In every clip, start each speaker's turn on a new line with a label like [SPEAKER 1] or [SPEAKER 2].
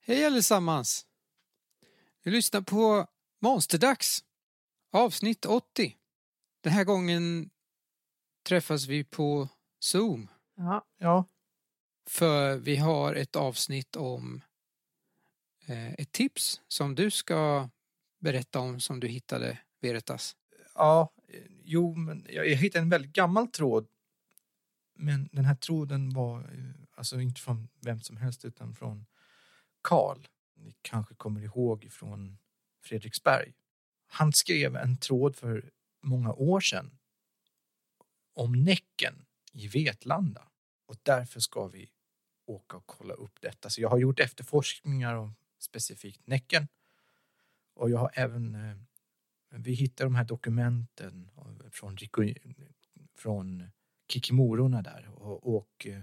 [SPEAKER 1] Hej allesammans! Vi lyssnar på Monsterdags, avsnitt 80. Den här gången träffas vi på Zoom
[SPEAKER 2] Ja. ja.
[SPEAKER 1] för vi har ett avsnitt om eh, ett tips som du ska berätta om som du hittade, Veritas.
[SPEAKER 2] Ja, eh, jo, men jag jag hittade en väldigt gammal tråd. Men den här tråden var eh, alltså inte från vem som helst utan från Karl. Ni kanske kommer ihåg från Fredriksberg. Han skrev en tråd för många år sedan om Näcken i Vetlanda. Och därför ska vi åka och kolla upp detta. Så jag har gjort efterforskningar om specifikt Näcken. Och jag har även eh, men Vi hittar de här dokumenten från, Riku- från Kikimororna där och, och eh,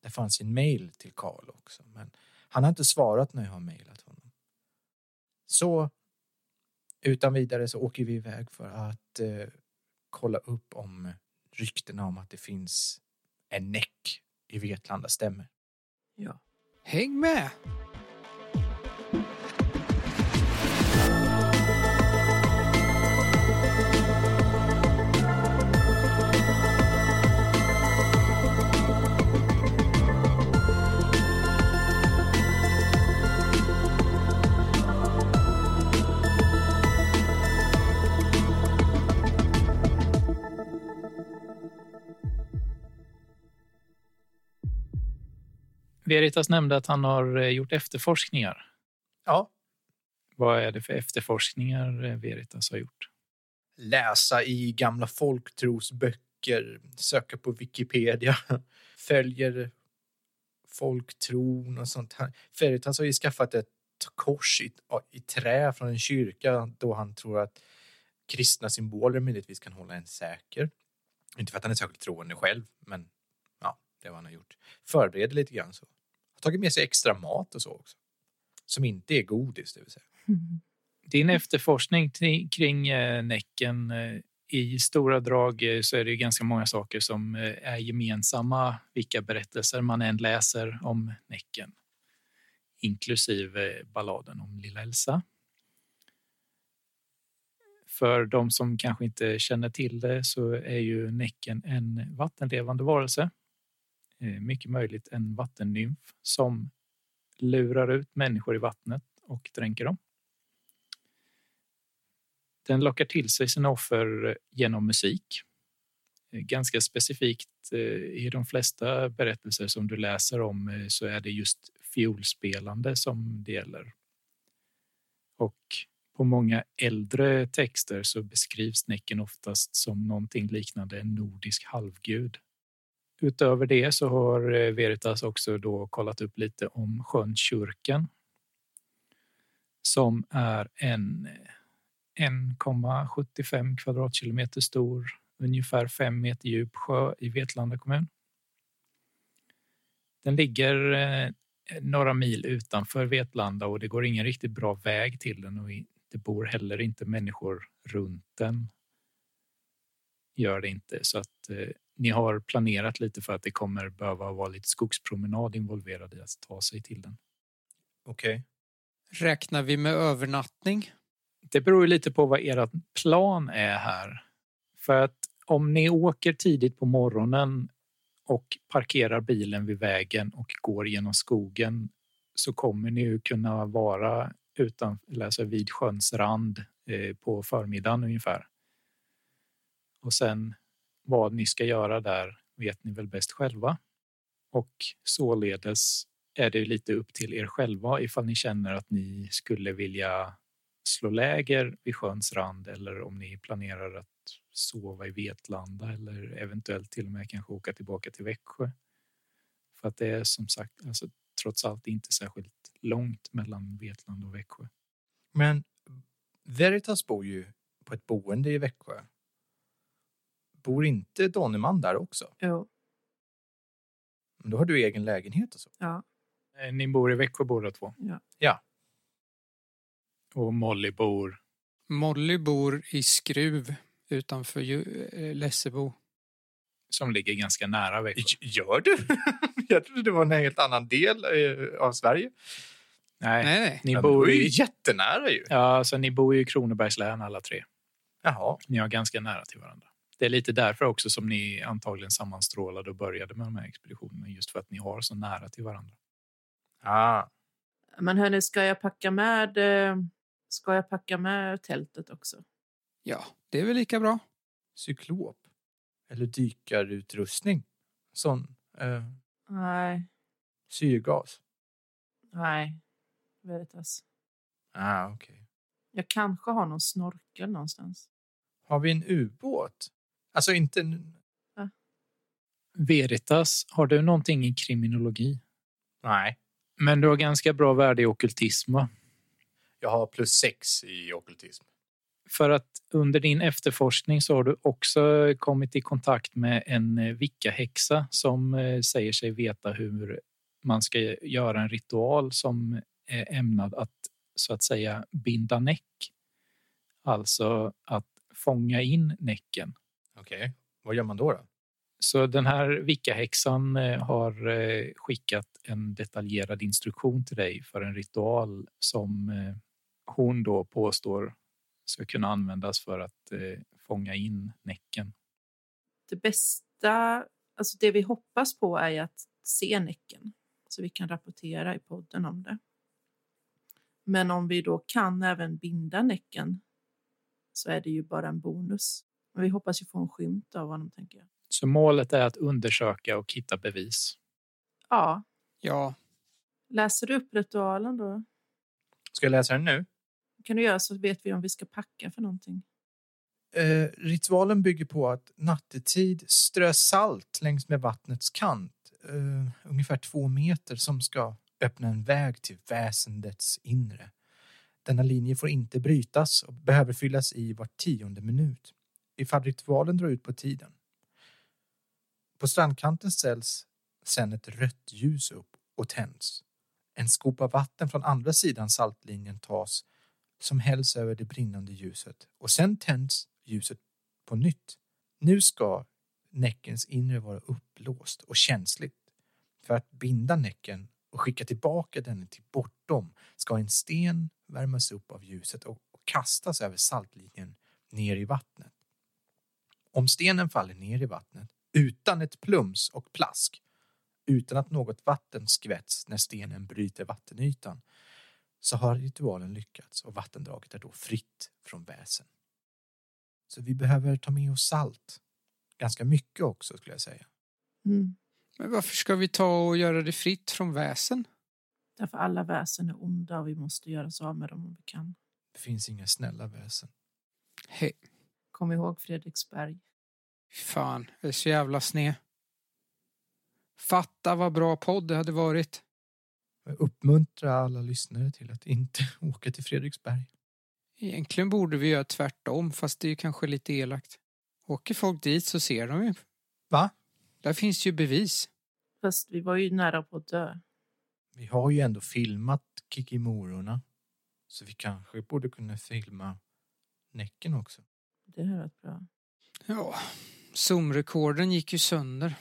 [SPEAKER 2] det fanns ju en mail till Karl också. Men han har inte svarat när jag har mailat honom. Så utan vidare så åker vi iväg för att eh, kolla upp om ryktena om att det finns en näck i Vetlanda stämmer.
[SPEAKER 3] Ja.
[SPEAKER 1] Häng med!
[SPEAKER 3] Veritas nämnde att han har eh, gjort efterforskningar.
[SPEAKER 2] Ja,
[SPEAKER 3] Vad är det för efterforskningar eh, Veritas har gjort?
[SPEAKER 2] läsa i gamla folktrosböcker, söka på Wikipedia, följer folktron och sånt. här. Veritas har ju skaffat ett kors i, i trä från en kyrka då han tror att kristna symboler möjligtvis kan hålla en säker. Inte för att han är särskilt troende själv, men ja, det var han har gjort. Förbereder lite grann så. Har tagit med sig extra mat och så också. Som inte är godis, det vill säga.
[SPEAKER 3] Din efterforskning t- kring eh, Näcken, eh, i stora drag eh, så är det ju ganska många saker som eh, är gemensamma vilka berättelser man än läser om Näcken. Inklusive balladen om Lilla Elsa. För de som kanske inte känner till det så är ju Näcken en vattenlevande varelse. Eh, Mycket möjligt en vattennymf som lurar ut människor i vattnet och dränker dem. Den lockar till sig sina offer eh, genom musik. Eh, Ganska specifikt eh, i de flesta berättelser som du läser om eh, så är det just fiolspelande som det gäller. Och på många äldre texter så beskrivs Näcken oftast som någonting liknande en nordisk halvgud. Utöver det så har eh, Veritas också då kollat upp lite om sjön Kyrkan. Som är en eh, 1,75 kvadratkilometer stor, ungefär 5 meter djup sjö i Vetlanda kommun. Den ligger eh, några mil utanför Vetlanda och det går ingen riktigt bra väg till den och i- det bor heller inte människor runt den. Gör det inte så att eh, ni har planerat lite för att det kommer behöva vara lite skogspromenad involverad i att ta sig till den.
[SPEAKER 2] Okej.
[SPEAKER 1] Räknar vi med övernattning?
[SPEAKER 3] det beror ju lite på vad ert plan är här. För att om ni åker tidigt på morgonen och parkerar bilen vid vägen och går genom skogen så kommer ni ju kunna vara utan, eller alltså vid sjöns rand eh, på förmiddagen ungefär. Och sen vad ni ska göra där vet ni väl bäst själva. Och således är det ju lite upp till er själva ifall ni känner att ni skulle vilja slå läger vid sjöns rand eller om ni planerar att sova i Vetlanda eller eventuellt till och med kanske åka tillbaka till Växjö. För att det är som sagt alltså, trots allt inte särskilt långt mellan Vetlanda och Växjö.
[SPEAKER 2] Men Veritas bor ju på ett boende i Växjö. Bor inte Donnerman där också?
[SPEAKER 4] Jo,
[SPEAKER 2] Men då har du egen lägenhet och så.
[SPEAKER 4] ja.
[SPEAKER 3] Eh, Ni bor i Växjö båda två?
[SPEAKER 4] Ja.
[SPEAKER 2] Ja.
[SPEAKER 3] Och Molly bor...
[SPEAKER 1] Molly bor i Skruv utanför Ju- eh, Lessebo.
[SPEAKER 3] Som ligger ganska nära Växjö.
[SPEAKER 2] Gör du? Jag trodde det var en helt annan del eh, av Sverige.
[SPEAKER 3] Nej,
[SPEAKER 1] Nej, nej.
[SPEAKER 3] ni
[SPEAKER 2] Ja,
[SPEAKER 3] bor
[SPEAKER 2] det var ju
[SPEAKER 3] ju...
[SPEAKER 2] jättenära ju.
[SPEAKER 3] Ja, alltså, ni bor ju i Kronobergs län alla tre.
[SPEAKER 2] Jaha.
[SPEAKER 3] Ni har ganska nära till varandra. Det är lite därför också som ni antagligen sammanstrålade och började med de här expeditionerna. Just för att ni har så nära till varandra.
[SPEAKER 2] Ah.
[SPEAKER 4] Men hörni, ska jag packa med, eh, ska jag packa med tältet också?
[SPEAKER 1] Ja, det är väl lika bra.
[SPEAKER 2] Cyklop. Eller dykarutrustning. Sån eh,
[SPEAKER 4] Nej,
[SPEAKER 2] syrgas.
[SPEAKER 4] nej. Veritas.
[SPEAKER 2] Ah, okej.
[SPEAKER 4] Jag kanske har någon snorkel någonstans.
[SPEAKER 2] Har vi en ubåt? Alltså inte... en-
[SPEAKER 3] Veritas, har du någonting i kriminologi?
[SPEAKER 2] Nej.
[SPEAKER 3] Men du har ganska bra värde i ockultism, va?
[SPEAKER 2] Jag har plus sex i okultism.
[SPEAKER 3] För att under din efterforskning så har du också kommit i kontakt med en eh, Wicca-häxa som eh, säger sig veta hur man ska göra en ritual som är ämnad att så att säga binda näck. Alltså att fånga in näcken.
[SPEAKER 2] Okej. Vad gör man då? då?
[SPEAKER 3] Så den här Wicca-häxan eh, har eh, skickat en detaljerad instruktion till dig för en ritual som eh, hon då påstår ska kunna användas för att eh, fånga in näcken.
[SPEAKER 4] Det bästa, alltså det vi hoppas på är ju att se näcken så vi kan rapportera i podden om det. Men om vi då kan även binda näcken så är det ju bara en bonus. Men vi hoppas ju få en skymt av honom tänker jag.
[SPEAKER 3] Så målet är att undersöka och hitta bevis.
[SPEAKER 4] Ja,
[SPEAKER 1] Ja,
[SPEAKER 4] läser du upp ritualen då?
[SPEAKER 2] Ska jag läsa den nu?
[SPEAKER 4] Kan du göra så vet vi om vi ska packa för någonting.
[SPEAKER 2] Eh, ritualen bygger på att nattetid strö salt längs med vattnets kant, eh, ungefär två meter, som ska öppna en väg till väsendets inre. Denna linje får inte brytas och behöver fyllas i var tionde minut ifall ritualen drar ut på tiden. På strandkanten ställs sedan ett rött ljus upp och tänds. En skopa vatten från andra sidan saltlinjen tas som hälls över det brinnande ljuset och sen tänds ljuset på nytt. Nu ska näckens inre vara uppblåst och känsligt. För att binda näcken och skicka tillbaka den till bortom ska en sten värmas upp av ljuset och och kastas över saltlinjen ner i vattnet. Om stenen faller ner i vattnet utan ett plums och plask, utan att något vatten skvätts när stenen bryter vattenytan, så har ritualen lyckats och vattendraget är då fritt från väsen. Så vi behöver ta med oss salt. Ganska mycket också skulle jag säga.
[SPEAKER 4] Mm.
[SPEAKER 1] men varför ska vi ta och göra det fritt från väsen?
[SPEAKER 4] Därför alla väsen är onda och vi måste göra oss av med dem om vi kan.
[SPEAKER 2] Det finns inga snälla väsen.
[SPEAKER 1] Hej,
[SPEAKER 4] Kom ihåg Fredriksberg.
[SPEAKER 1] fan, jag är så jävla sned. Fatta vad bra podd det hade varit.
[SPEAKER 2] Jag uppmuntrar alla lyssnare till att inte åka till Fredriksberg.
[SPEAKER 1] Egentligen borde vi göra tvärtom, fast det är ju kanske lite elakt. Åker folk dit så ser de ju.
[SPEAKER 2] Va?
[SPEAKER 1] Där finns ju bevis.
[SPEAKER 4] Fast vi var ju nära på att dö.
[SPEAKER 2] Vi har ju ändå filmat Kikimororna. Så vi kanske borde kunna filma Näcken också.
[SPEAKER 4] Det hade varit bra.
[SPEAKER 1] Ja, Zoom-rekorden gick ju sönder.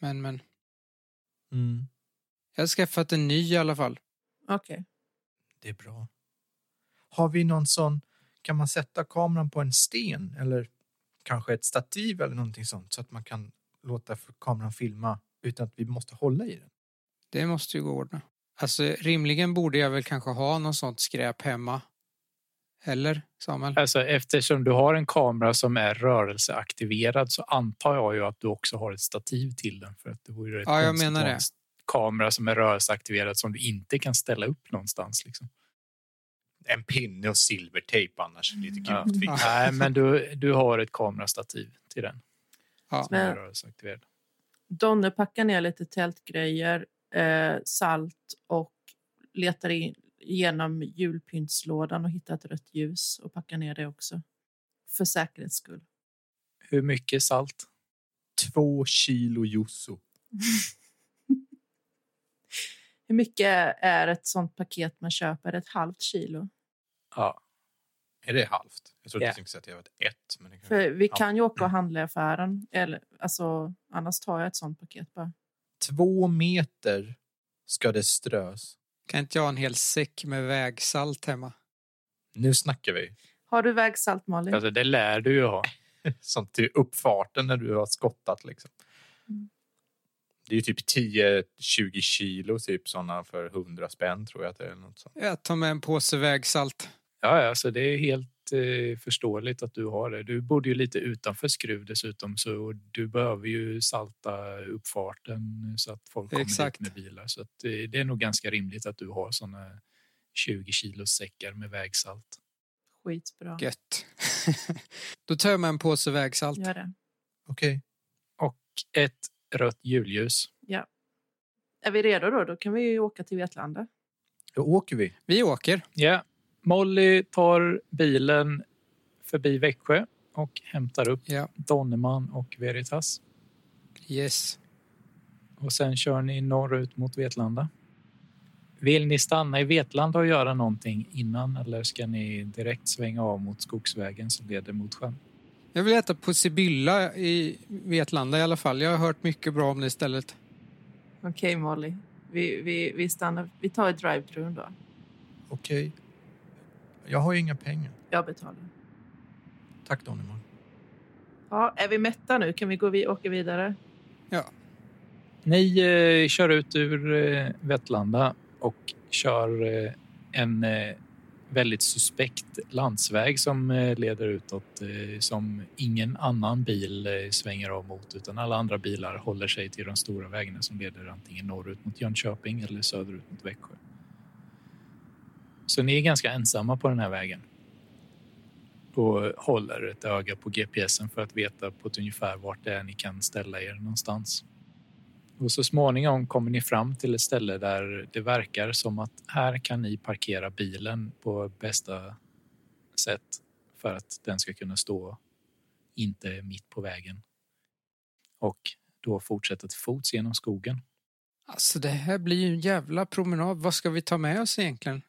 [SPEAKER 1] Men, men.
[SPEAKER 2] Mm.
[SPEAKER 1] Jag har skaffat en ny i alla fall.
[SPEAKER 4] Okej.
[SPEAKER 2] Det är bra. Har vi någon sån, kan man sätta kameran på en sten eller kanske ett stativ eller någonting sånt så att man kan låta f- kameran filma utan att vi måste hålla i den?
[SPEAKER 1] Det måste ju gå att ordna. Alltså rimligen borde jag väl kanske ha något sånt skräp hemma. Eller Samuel?
[SPEAKER 3] Alltså, eftersom du har en kamera som är rörelseaktiverad så antar jag ju att du också har ett stativ till den. För att det vore ju rätt
[SPEAKER 1] Ja, jag
[SPEAKER 3] konstigt att
[SPEAKER 1] menar
[SPEAKER 3] ha
[SPEAKER 1] det.
[SPEAKER 3] en s- kamera som är rörelseaktiverad som du inte kan ställa upp någonstans. Liksom.
[SPEAKER 2] En pinne och silvertejp annars, lite
[SPEAKER 3] Ja.
[SPEAKER 2] grovt
[SPEAKER 1] Ja.
[SPEAKER 2] Mm. ja.
[SPEAKER 3] Nej, men du, du har ett kamerastativ till den.
[SPEAKER 1] Ja.
[SPEAKER 3] Som är
[SPEAKER 4] Men-
[SPEAKER 3] rörelseaktiverad.
[SPEAKER 4] Donne packar ner lite tältgrejer, eh, salt och letar in genom julpyntslådan och hittar ett rött ljus och packar ner det också. För säkerhets skull.
[SPEAKER 3] Hur mycket salt?
[SPEAKER 2] Två kilo yuzu.
[SPEAKER 4] Hur mycket är ett sånt paket man köper? Är det Ett halvt kilo?
[SPEAKER 3] Ja.
[SPEAKER 2] Är det halvt? Jag trodde
[SPEAKER 3] Ja.
[SPEAKER 2] du tänkte säga att jag var ett. ett men det kan...
[SPEAKER 4] För vi
[SPEAKER 2] Ja.
[SPEAKER 4] kan ju åka och handla i affären. Eller, alltså, annars tar jag ett sånt paket bara.
[SPEAKER 2] Två meter ska det strös.
[SPEAKER 1] Kan inte jag ha en hel säck med vägsalt hemma?
[SPEAKER 2] Nu snackar vi.
[SPEAKER 4] Har du vägsalt, Malin?
[SPEAKER 3] Alltså, det lär du ju ha.
[SPEAKER 2] Som till uppfarten när du har skottat liksom.
[SPEAKER 4] Mm.
[SPEAKER 2] Det är ju typ 10-20 kilo typ sådana för 100 spänn tror jag att det är. eller Något sånt.
[SPEAKER 1] Jag tar med en påse vägsalt.
[SPEAKER 3] Ja, ja, så det är helt eh, förståeligt att du har det. Du bodde ju lite utanför Skruv dessutom, så du behöver ju salta uppfarten så att folk kommer
[SPEAKER 1] Exakt.
[SPEAKER 3] dit med bilar. Så att, eh, det är nog ganska rimligt att du har såna 20 kilos säckar med vägsalt.
[SPEAKER 4] Skitbra.
[SPEAKER 1] Gött. Då tar jag med en påse vägsalt.
[SPEAKER 4] Gör det.
[SPEAKER 2] Okej.
[SPEAKER 3] Ett rött julljus.
[SPEAKER 4] Är vi redo då? Då kan vi ju åka till Vetlanda.
[SPEAKER 2] Då åker vi.
[SPEAKER 1] Vi åker.
[SPEAKER 3] Ja, Molly tar bilen förbi Växjö och hämtar upp
[SPEAKER 1] Ja.
[SPEAKER 3] Donnerman och Veritas.
[SPEAKER 1] Yes.
[SPEAKER 3] Och sen kör ni norrut mot Vetlanda. Vill ni stanna i Vetlanda och göra någonting innan eller ska ni direkt svänga av mot Skogsvägen som leder mot sjön?
[SPEAKER 1] Jag vill äta på Sibylla i Vetlanda i alla fall. Jag har hört mycket bra om det stället.
[SPEAKER 4] Okej, Molly. Vi, vi, vi stannar. Vi tar ett drive-thru då.
[SPEAKER 2] Okej. Jag har ju inga pengar.
[SPEAKER 4] Jag betalar.
[SPEAKER 2] Tack Donnerman.
[SPEAKER 4] Ja, är vi mätta nu? Kan vi gå vi åka vidare?
[SPEAKER 3] Ni eh, kör ut ur eh, Vetlanda och kör eh, en eh, väldigt suspekt landsväg som eh, leder utåt eh, som ingen annan bil eh, svänger av mot utan alla andra bilar håller sig till de stora vägarna som leder antingen norrut mot Jönköping eller söderut mot Växjö. Så ni är ganska ensamma på den här vägen och håller ett öga på GPSen för att veta på ett ungefär vart det är ni kan ställa er någonstans. Och så småningom kommer ni fram till ett ställe där det verkar som att här kan ni parkera bilen på bästa sätt för att den ska kunna stå inte mitt på vägen. Och då fortsätta till fots genom skogen.
[SPEAKER 1] Alltså det här blir ju en jävla promenad. Vad ska vi ta med oss egentligen?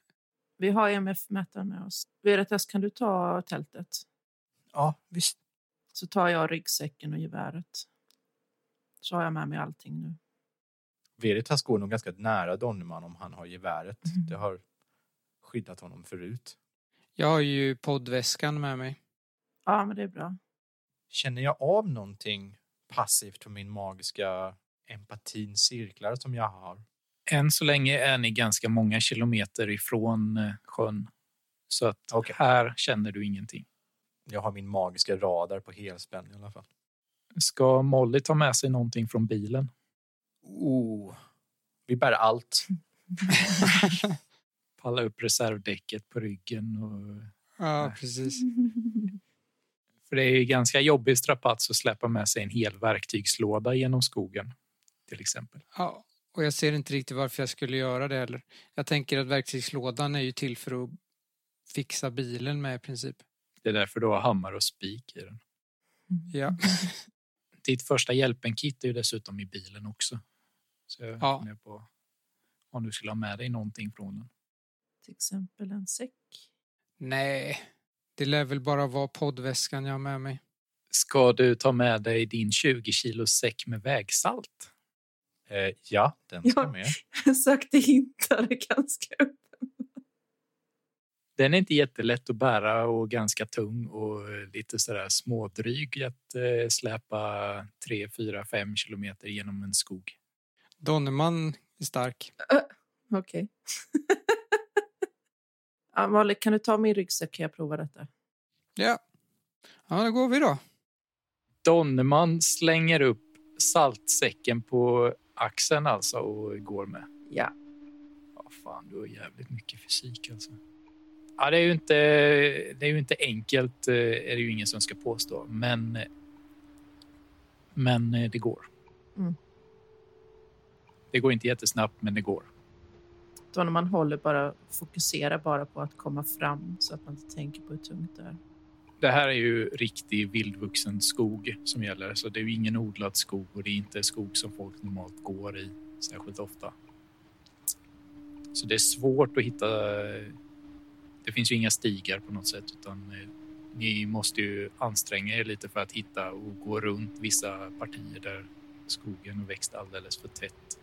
[SPEAKER 4] Vi har EMF-mätaren med oss. Veritas, kan du ta tältet?
[SPEAKER 2] Ja, visst.
[SPEAKER 4] Så tar jag ryggsäcken och geväret. Så har jag med mig allting nu.
[SPEAKER 2] Veritas går nog ganska nära Donnerman om han har geväret.
[SPEAKER 4] Mm.
[SPEAKER 2] Det har skyddat honom förut.
[SPEAKER 1] Jag har ju poddväskan med mig.
[SPEAKER 4] Ja, men det är bra.
[SPEAKER 2] Känner jag av någonting passivt från min magiska empatins cirklar som jag har?
[SPEAKER 3] Än så länge är ni ganska många kilometer ifrån eh, sjön. Så att
[SPEAKER 2] Okej.
[SPEAKER 3] här känner du ingenting.
[SPEAKER 2] Jag har min magiska radar på helspänn i alla fall.
[SPEAKER 3] Ska Molly ta med sig någonting från bilen?
[SPEAKER 2] Oh. Vi bär allt.
[SPEAKER 3] Palla upp reservdäcket på ryggen och
[SPEAKER 1] Ja, precis.
[SPEAKER 3] För det är ju ganska jobbig strapats att släppa med sig en hel verktygslåda genom skogen. Till exempel.
[SPEAKER 1] Ja, och jag ser inte riktigt varför jag skulle göra det heller. Jag tänker att verktygslådan är ju till för att fixa bilen med i princip.
[SPEAKER 3] Det är därför du har hammare och spik i den.
[SPEAKER 1] Ja.
[SPEAKER 3] Ditt första hjälpen-kit är ju dessutom i bilen också. Så jag
[SPEAKER 1] Ja.
[SPEAKER 3] funderar på om du skulle ha med dig någonting från den.
[SPEAKER 4] Till exempel en säck.
[SPEAKER 1] Nej, det lär väl bara vara poddväskan jag har med mig.
[SPEAKER 3] Ska du ta med dig din 20 kilos säck med vägsalt?
[SPEAKER 2] Eh, ja, den ska
[SPEAKER 4] Ja.
[SPEAKER 2] med.
[SPEAKER 4] Jag sökte hintar ganska upp.
[SPEAKER 3] Den är inte jättelätt att bära och ganska tung och eh, lite sådär smådryg att eh, släpa 3, 4, 5 kilometer genom en skog.
[SPEAKER 1] Donnerman är stark.
[SPEAKER 4] Okej. ja, Molly, kan du ta min ryggsäck? Kan jag prova detta?
[SPEAKER 1] Ja, ja då går vi då.
[SPEAKER 3] Donnerman slänger upp saltsäcken på axeln alltså och går med.
[SPEAKER 4] Ja.
[SPEAKER 3] Ja, fan, du har jävligt mycket fysik alltså. Ja, det är ju inte, det är ju inte enkelt, eh, är det ju ingen som ska påstå, men, men eh, det går.
[SPEAKER 4] Mm.
[SPEAKER 3] Det går inte jättesnabbt, men det går.
[SPEAKER 4] Då när man håller bara, fokuserar bara på att komma fram så att man inte tänker på hur tungt det är.
[SPEAKER 3] Det här är ju riktig vildvuxen skog som gäller, så det är ju ingen odlad skog och det är inte skog som folk normalt går i särskilt ofta. Så det är svårt att hitta. Det finns ju inga stigar på något sätt, utan eh, ni måste ju anstränga er lite för att hitta och gå runt vissa partier där skogen har växt alldeles för tätt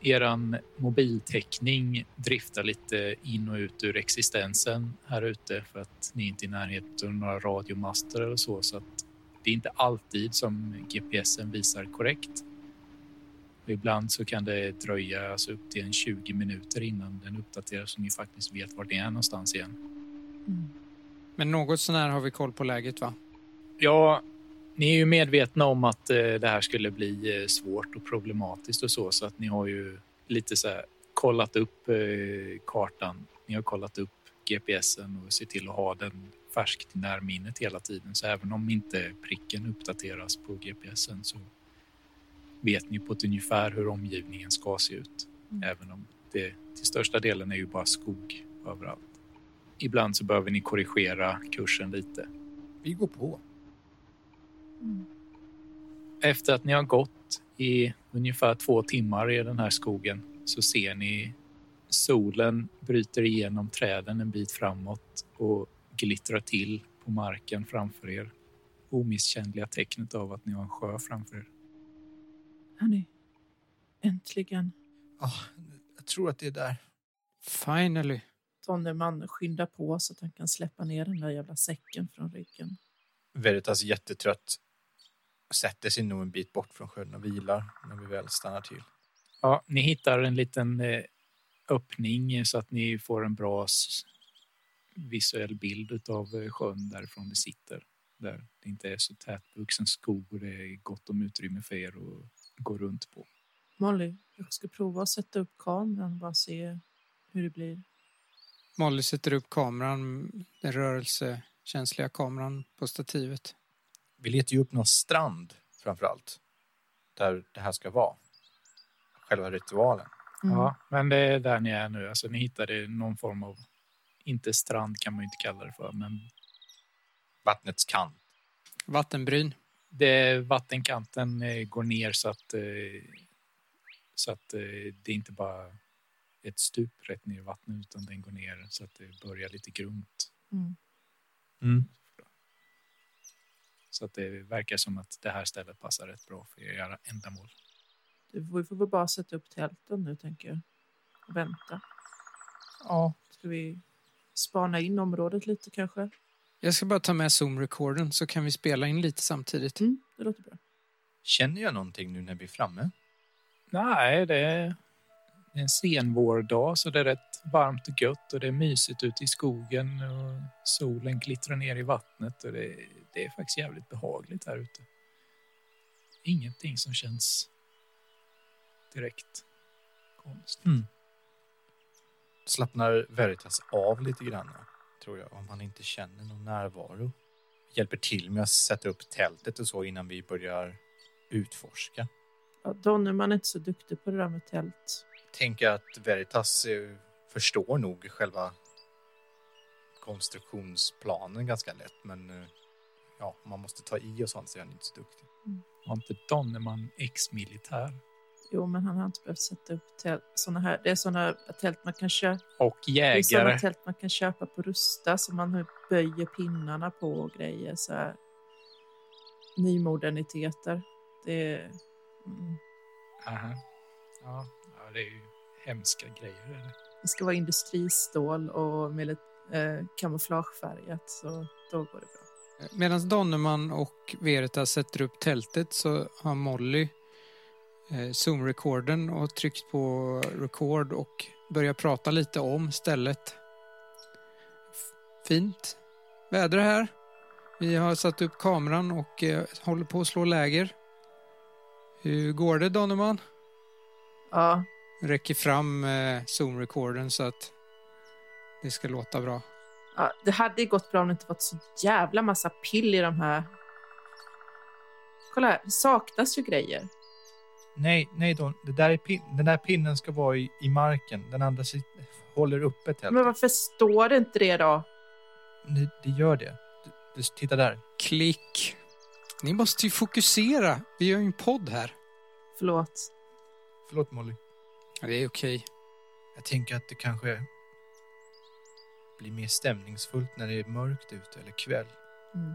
[SPEAKER 3] eran mobiltäckning driftar lite in och ut ur existensen här ute för att ni inte är i närheten av några radiomaster eller så. Så att det är inte alltid som GPSen visar korrekt. Och ibland så kan det dröja alltså upp till en 20 minuter innan den uppdateras så ni faktiskt vet var ni är någonstans igen.
[SPEAKER 4] Mm.
[SPEAKER 1] Men något sånär har vi koll på läget va?
[SPEAKER 3] Ja, ni är ju medvetna om att eh, det här skulle bli eh, svårt och problematiskt och så, så att ni har ju lite så här kollat upp eh, kartan. Ni har kollat upp GPSen och ser till att ha den färskt i närminnet hela tiden. Så även om inte pricken uppdateras på GPSen så vet ni på ett ungefär hur omgivningen ska se ut.
[SPEAKER 4] Mm.
[SPEAKER 3] Även om det till största delen är ju bara skog överallt. Ibland så behöver ni korrigera kursen lite.
[SPEAKER 2] Vi går på.
[SPEAKER 4] Mm.
[SPEAKER 3] Efter att ni har gått i ungefär två timmar i den här skogen så ser ni solen bryter igenom träden en bit framåt och glittrar till på marken framför er. Omisskännliga tecknet av att ni har en sjö framför er.
[SPEAKER 4] Hörni, äntligen.
[SPEAKER 2] Ah, jag tror att det är där.
[SPEAKER 1] Finally.
[SPEAKER 4] Tonnerman skyndar på så att han kan släppa ner den där jävla säcken från ryggen.
[SPEAKER 2] Veritas jättetrött. Sätter sig nog en bit bort från sjön och vilar när vi väl stannar till.
[SPEAKER 3] Ja, ni hittar en liten eh, öppning så att ni får en bra s- visuell bild av sjön därifrån ni sitter. Där det inte är så tätvuxen skog och det är gott om utrymme för er att gå runt på.
[SPEAKER 4] Molly, jag ska prova att sätta upp kameran och bara se hur det blir.
[SPEAKER 1] Molly sätter upp kameran, den rörelsekänsliga kameran på stativet.
[SPEAKER 2] Vi letar ju upp någon strand framför allt. Där det här ska vara. Själva ritualen.
[SPEAKER 4] Mm.
[SPEAKER 3] Ja, men det är där ni är nu. Alltså, ni hittade någon form av, inte strand kan man ju inte kalla det för, men
[SPEAKER 2] Vattnets kant.
[SPEAKER 1] Vattenbryn.
[SPEAKER 3] det, vattenkanten eh, går ner så att, eh, så att eh, det är inte bara ett stup rätt ner i vattnet utan den går ner så att det börjar lite grunt. Mm.
[SPEAKER 4] Mm.
[SPEAKER 3] Så att det verkar som att det här stället passar rätt bra för era ändamål.
[SPEAKER 4] Du, vi får väl bara sätta upp tälten nu, tänker jag. Och vänta.
[SPEAKER 2] Ja.
[SPEAKER 4] Ska vi spana in området lite kanske?
[SPEAKER 1] Jag ska bara ta med zoom-recorden så kan vi spela in lite samtidigt.
[SPEAKER 4] Mm, det låter bra.
[SPEAKER 2] Känner jag någonting nu när vi är framme?
[SPEAKER 3] Nej, det är en sen vårdag så det är rätt varmt och gött och det är mysigt ute i skogen och solen glittrar ner i vattnet och det, det är faktiskt jävligt behagligt här ute. Ingenting som känns direkt konstigt.
[SPEAKER 2] Mm. Slappnar Veritas av lite grann, tror jag, om han inte känner någon närvaro. Hjälper till med att sätta upp tältet och så innan vi börjar utforska.
[SPEAKER 4] Ja, Donnerman är inte så duktig på det där med tält.
[SPEAKER 2] Tänker att Veritas eh, förstår nog själva konstruktionsplanen ganska lätt, men eh, ja, man måste ta i och sånt så är han inte så duktig.
[SPEAKER 3] Var inte Donnerman ex-militär?
[SPEAKER 4] Jo, men han har inte behövt sätta upp tält. Såna här, det är såna tält man kan köpa.
[SPEAKER 3] Och
[SPEAKER 4] Det är såna
[SPEAKER 3] jägare.
[SPEAKER 4] tält man kan köpa på Rusta som man böjer pinnarna på och grejer. Så här. Nymoderniteter. Det är... Mm.
[SPEAKER 3] Aha. Ja, ja, det är ju hemska grejer. Är det?
[SPEAKER 4] Det ska vara industristål och med lite, eh, kamouflagefärgat, så då går det bra.
[SPEAKER 1] Medan Donnerman och Veritas sätter upp tältet så har Molly eh, zoom-recorden och tryckt på record och börjar prata lite om stället. F- Fint väder här. Vi har satt upp kameran och eh, håller på att slå läger. Hur går det Donnerman?
[SPEAKER 4] Ja,
[SPEAKER 1] Räcker fram eh, zoom-recorden så att det ska låta bra.
[SPEAKER 4] ja, det hade ju gått bra om det inte varit så jävla massa pill i de här. Kolla här, det saknas ju grejer.
[SPEAKER 2] Nej, nej då. Det där är pin- den där pinnen ska vara i, i marken. Den andra sit- håller uppe tältet.
[SPEAKER 4] Men varför står det inte det då?
[SPEAKER 2] Det, det gör det. Du, du, titta där.
[SPEAKER 1] Klick. Ni måste ju fokusera. Vi gör ju en podd här.
[SPEAKER 4] Förlåt.
[SPEAKER 2] Förlåt Molly.
[SPEAKER 1] Ja, Det är okej.
[SPEAKER 2] Jag tänker att det kanske blir mer stämningsfullt när det är mörkt ute eller kväll.
[SPEAKER 4] Mm.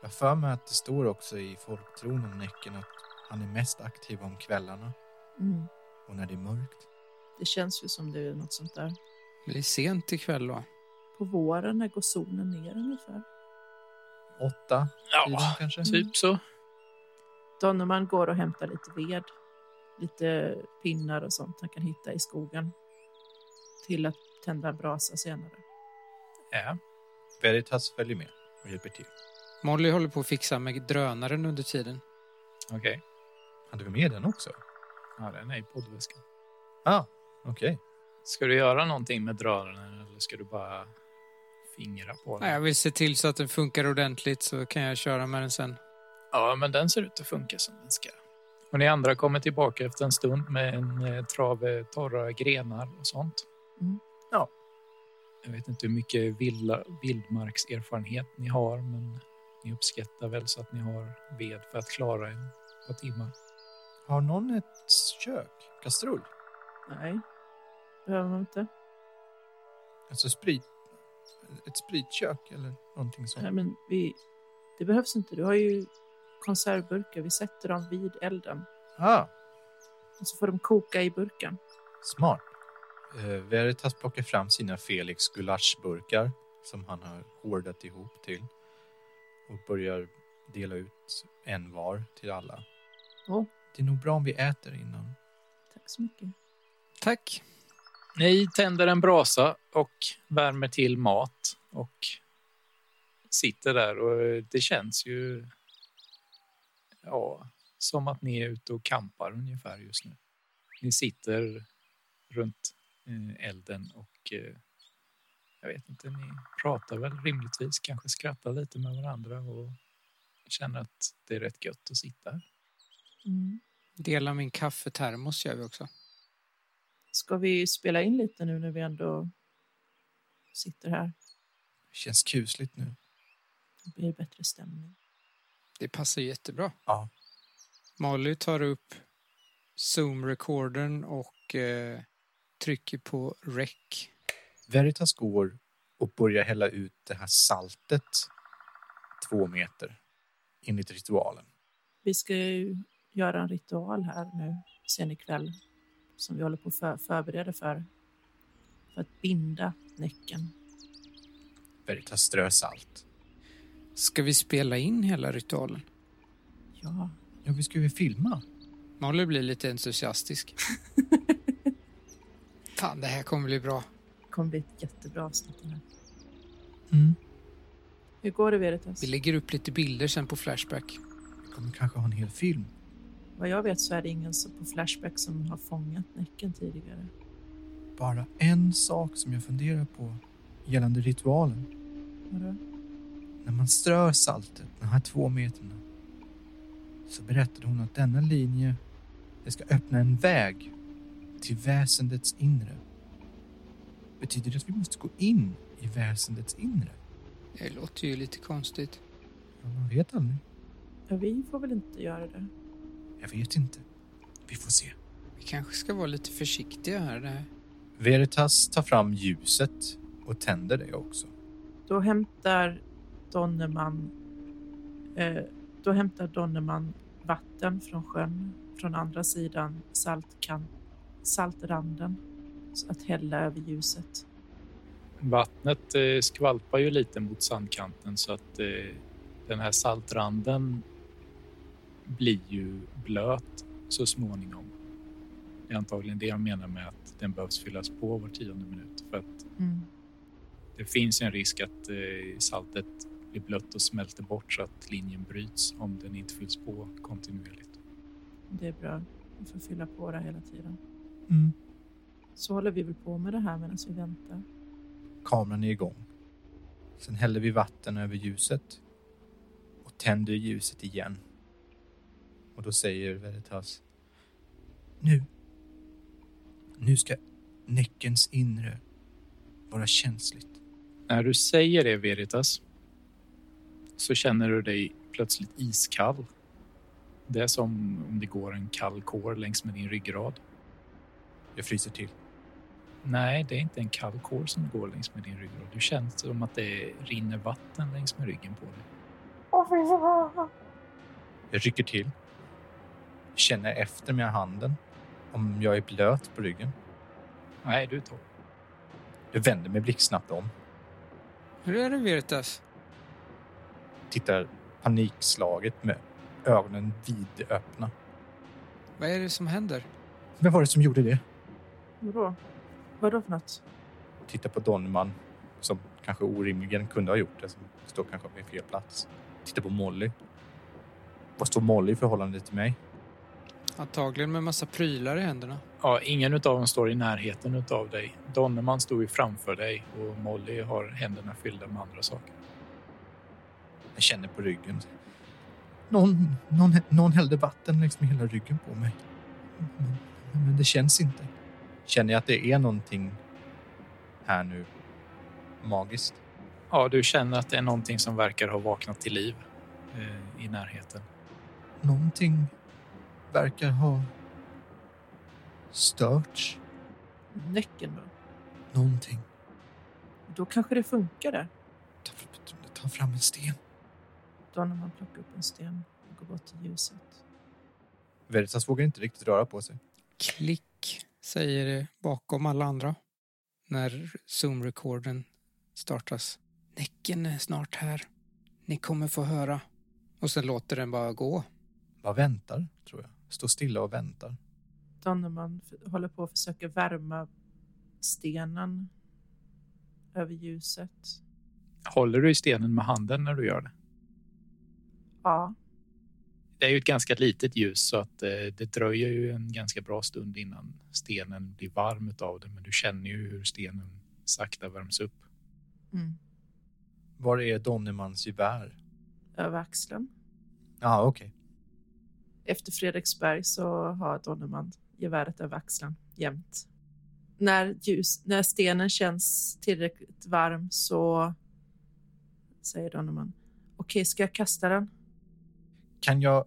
[SPEAKER 2] Jag har för mig att det står också i folktron om Näcken att han är mest aktiv om kvällarna.
[SPEAKER 4] Mm.
[SPEAKER 2] Och när det är mörkt.
[SPEAKER 4] Det känns ju som det är något sånt där.
[SPEAKER 1] Det blir sent ikväll va?
[SPEAKER 4] På våren när går solen ner ungefär.
[SPEAKER 2] Åtta, tiden
[SPEAKER 3] Ja,
[SPEAKER 2] kanske.
[SPEAKER 3] typ så.
[SPEAKER 4] Donnerman går och hämtar lite ved, lite pinnar och sånt han kan hitta i skogen. Till att tända en brasa senare.
[SPEAKER 3] Ja.
[SPEAKER 2] Veritas följer med och hjälper till.
[SPEAKER 1] Molly håller på att fixa med drönaren under tiden.
[SPEAKER 3] Okej.
[SPEAKER 2] Hade vi med den också?
[SPEAKER 3] Ja, den är i poddväskan.
[SPEAKER 2] Ah, okej.
[SPEAKER 3] Ska du göra någonting med drönaren eller ska du bara fingra på den?
[SPEAKER 1] Nej, jag vill se till så att den funkar ordentligt så kan jag köra med den sen.
[SPEAKER 3] Ja, men den ser ut att funka som den ska. Och ni andra kommer tillbaka efter en stund med en eh, trave torra grenar och sånt.
[SPEAKER 4] Mm.
[SPEAKER 2] Ja.
[SPEAKER 3] Jag vet inte hur mycket villa, vildmarkserfarenhet ni har, men ni uppskattar väl så att ni har ved för att klara en par timmar.
[SPEAKER 2] Har någon ett kök? Kastrull?
[SPEAKER 4] Nej, behöver man inte.
[SPEAKER 2] Alltså sprit? Ett spritkök eller någonting sånt?
[SPEAKER 4] Nej, men vi, det behövs inte. Du har ju konservburkar. Vi sätter dem vid elden
[SPEAKER 2] Ah,
[SPEAKER 4] och så får de koka i burken.
[SPEAKER 2] smart. Eh, Veritas plockar fram sina Felix gulaschburkar som han har hårdat ihop till och börjar dela ut en var till alla.
[SPEAKER 4] Åh.
[SPEAKER 2] Det är nog bra om vi äter innan.
[SPEAKER 4] Tack så mycket.
[SPEAKER 1] Tack.
[SPEAKER 3] Ni tänder en brasa och värmer till mat och sitter där och det känns ju ja, som att ni är ute och kampar ungefär just nu. Ni sitter runt eh, elden och eh, jag vet inte, ni pratar väl rimligtvis, kanske skrattar lite med varandra och känner att det är rätt gött att sitta här.
[SPEAKER 4] Mm.
[SPEAKER 1] Dela min kaffetermos gör vi också.
[SPEAKER 4] Ska vi spela in lite nu när vi ändå sitter här?
[SPEAKER 2] Det känns kusligt nu.
[SPEAKER 4] Det blir bättre stämning.
[SPEAKER 1] Det passar jättebra.
[SPEAKER 2] Ja.
[SPEAKER 1] Molly tar upp Zoom-recordern och eh, trycker på rec.
[SPEAKER 2] Veritas går och börjar hälla ut det här saltet två meter enligt ritualen.
[SPEAKER 4] Vi ska ju göra en ritual här nu sen ikväll som vi håller på att för, förbereda för. För att binda Näcken.
[SPEAKER 2] Veritas strör salt.
[SPEAKER 1] Ska vi spela in hela ritualen?
[SPEAKER 4] Ja,
[SPEAKER 2] Ja, vi ska ju filma.
[SPEAKER 1] Molly blir lite entusiastisk. Fan, det här kommer bli bra.
[SPEAKER 4] det kommer bli ett jättebra avsnitt. det här.
[SPEAKER 2] Mm.
[SPEAKER 4] Hur går det Veritas?
[SPEAKER 1] Vi lägger upp lite bilder sen på Flashback.
[SPEAKER 2] Vi kommer kanske ha en hel film.
[SPEAKER 4] Vad jag vet så är det ingen som- på Flashback som har fångat Näcken tidigare.
[SPEAKER 2] Bara en sak som jag funderar på gällande ritualen.
[SPEAKER 4] Vadå?
[SPEAKER 2] När man strör saltet, de här två meterna, så berättade hon att denna linje, det ska öppna en väg till väsendets inre. Betyder det att vi måste gå in i väsendets inre?
[SPEAKER 1] Det låter ju lite konstigt.
[SPEAKER 2] Ja, man vet aldrig.
[SPEAKER 4] Ja, vi får väl inte göra det.
[SPEAKER 2] Jag vet inte. Vi får se.
[SPEAKER 1] Vi kanske ska vara lite försiktiga här. Det här.
[SPEAKER 2] Veritas tar fram ljuset och tänder det också.
[SPEAKER 4] Då hämtar Donnerman, eh, då hämtar Donnerman vatten från sjön från andra sidan saltkan, saltranden så att hälla över ljuset.
[SPEAKER 3] Vattnet eh, skvalpar ju lite mot sandkanten så att eh, den här saltranden blir ju blöt så småningom. Det är antagligen det jag menar med att den behövs fyllas på var tionde minut för att
[SPEAKER 4] Mm,
[SPEAKER 3] det finns en risk att eh, saltet blir blött och smälter bort så att linjen bryts om den inte fylls på kontinuerligt.
[SPEAKER 4] Det är bra. Vi får fylla på det hela tiden.
[SPEAKER 2] Mm.
[SPEAKER 4] Så håller vi väl på med det här medan vi väntar.
[SPEAKER 2] Kameran är igång. Sen häller vi vatten över ljuset och tänder ljuset igen. Och då säger Veritas. Nu. Nu ska näckens inre vara känsligt.
[SPEAKER 3] När du säger det Veritas så känner du dig plötsligt iskall. Det är som om det går en kall kår längs med din ryggrad.
[SPEAKER 2] Jag fryser till.
[SPEAKER 3] Nej, det är inte en kall kår som går längs med din ryggrad. Du känner som att det rinner vatten längs med ryggen på dig.
[SPEAKER 2] Jag rycker till. Känner efter med handen om jag är blöt på ryggen.
[SPEAKER 3] Nej, du är torr.
[SPEAKER 2] Jag vänder mig blixtsnabbt om.
[SPEAKER 1] Hur är det Veritas?
[SPEAKER 2] Tittar panikslaget med ögonen vidöppna.
[SPEAKER 1] Vad är det som händer?
[SPEAKER 2] Vem var det som gjorde det?
[SPEAKER 4] Vadå? Vadå för något?
[SPEAKER 2] Tittar på Donnerman som kanske orimligen kunde ha gjort det. Som står kanske på fel plats. Tittar på Molly. Vad står Molly i förhållande till mig?
[SPEAKER 1] Antagligen med massa prylar i händerna.
[SPEAKER 3] Ja, ingen av dem står i närheten av dig. Donnerman står ju framför dig och Molly har händerna fyllda med andra saker.
[SPEAKER 2] Jag känner på ryggen. Någon, någon, någon hällde vatten längs med hela ryggen på mig. Men, men det känns inte. Känner jag att det är någonting här nu magiskt?
[SPEAKER 3] Ja, du känner att det är någonting som verkar ha vaknat till liv eh, i närheten.
[SPEAKER 2] Någonting verkar ha störts.
[SPEAKER 4] Nyckeln då?
[SPEAKER 2] Någonting.
[SPEAKER 4] Då kanske det funkade.
[SPEAKER 2] Ta, ta fram en sten.
[SPEAKER 4] Då när man plockar upp en sten och går bort till ljuset.
[SPEAKER 2] Veritas vågar inte riktigt röra på sig.
[SPEAKER 1] Klick, säger det bakom alla andra när Zoom-recorden startas. Näcken är snart här. Ni kommer få höra. Och sen låter den bara gå.
[SPEAKER 2] Vad väntar, tror jag. Står stilla och väntar.
[SPEAKER 4] Då när man f- håller på att försöka värma stenen över ljuset.
[SPEAKER 3] Håller du i stenen med handen när du gör det?
[SPEAKER 4] Ja,
[SPEAKER 3] Det är ju ett ganska litet ljus så att eh, det dröjer ju en ganska bra stund innan stenen blir varm av det. Men du känner ju hur stenen sakta värms upp.
[SPEAKER 4] mm.
[SPEAKER 2] Var är Donnermans gevär?
[SPEAKER 4] över axeln.
[SPEAKER 2] Ja, ah, okej.
[SPEAKER 4] Efter Fredriksberg så har Donnerman geväret över axeln jämt. När, ljus, när stenen känns tillräckligt varm så säger Donnerman. Okej, ska jag kasta den?
[SPEAKER 2] Kan jag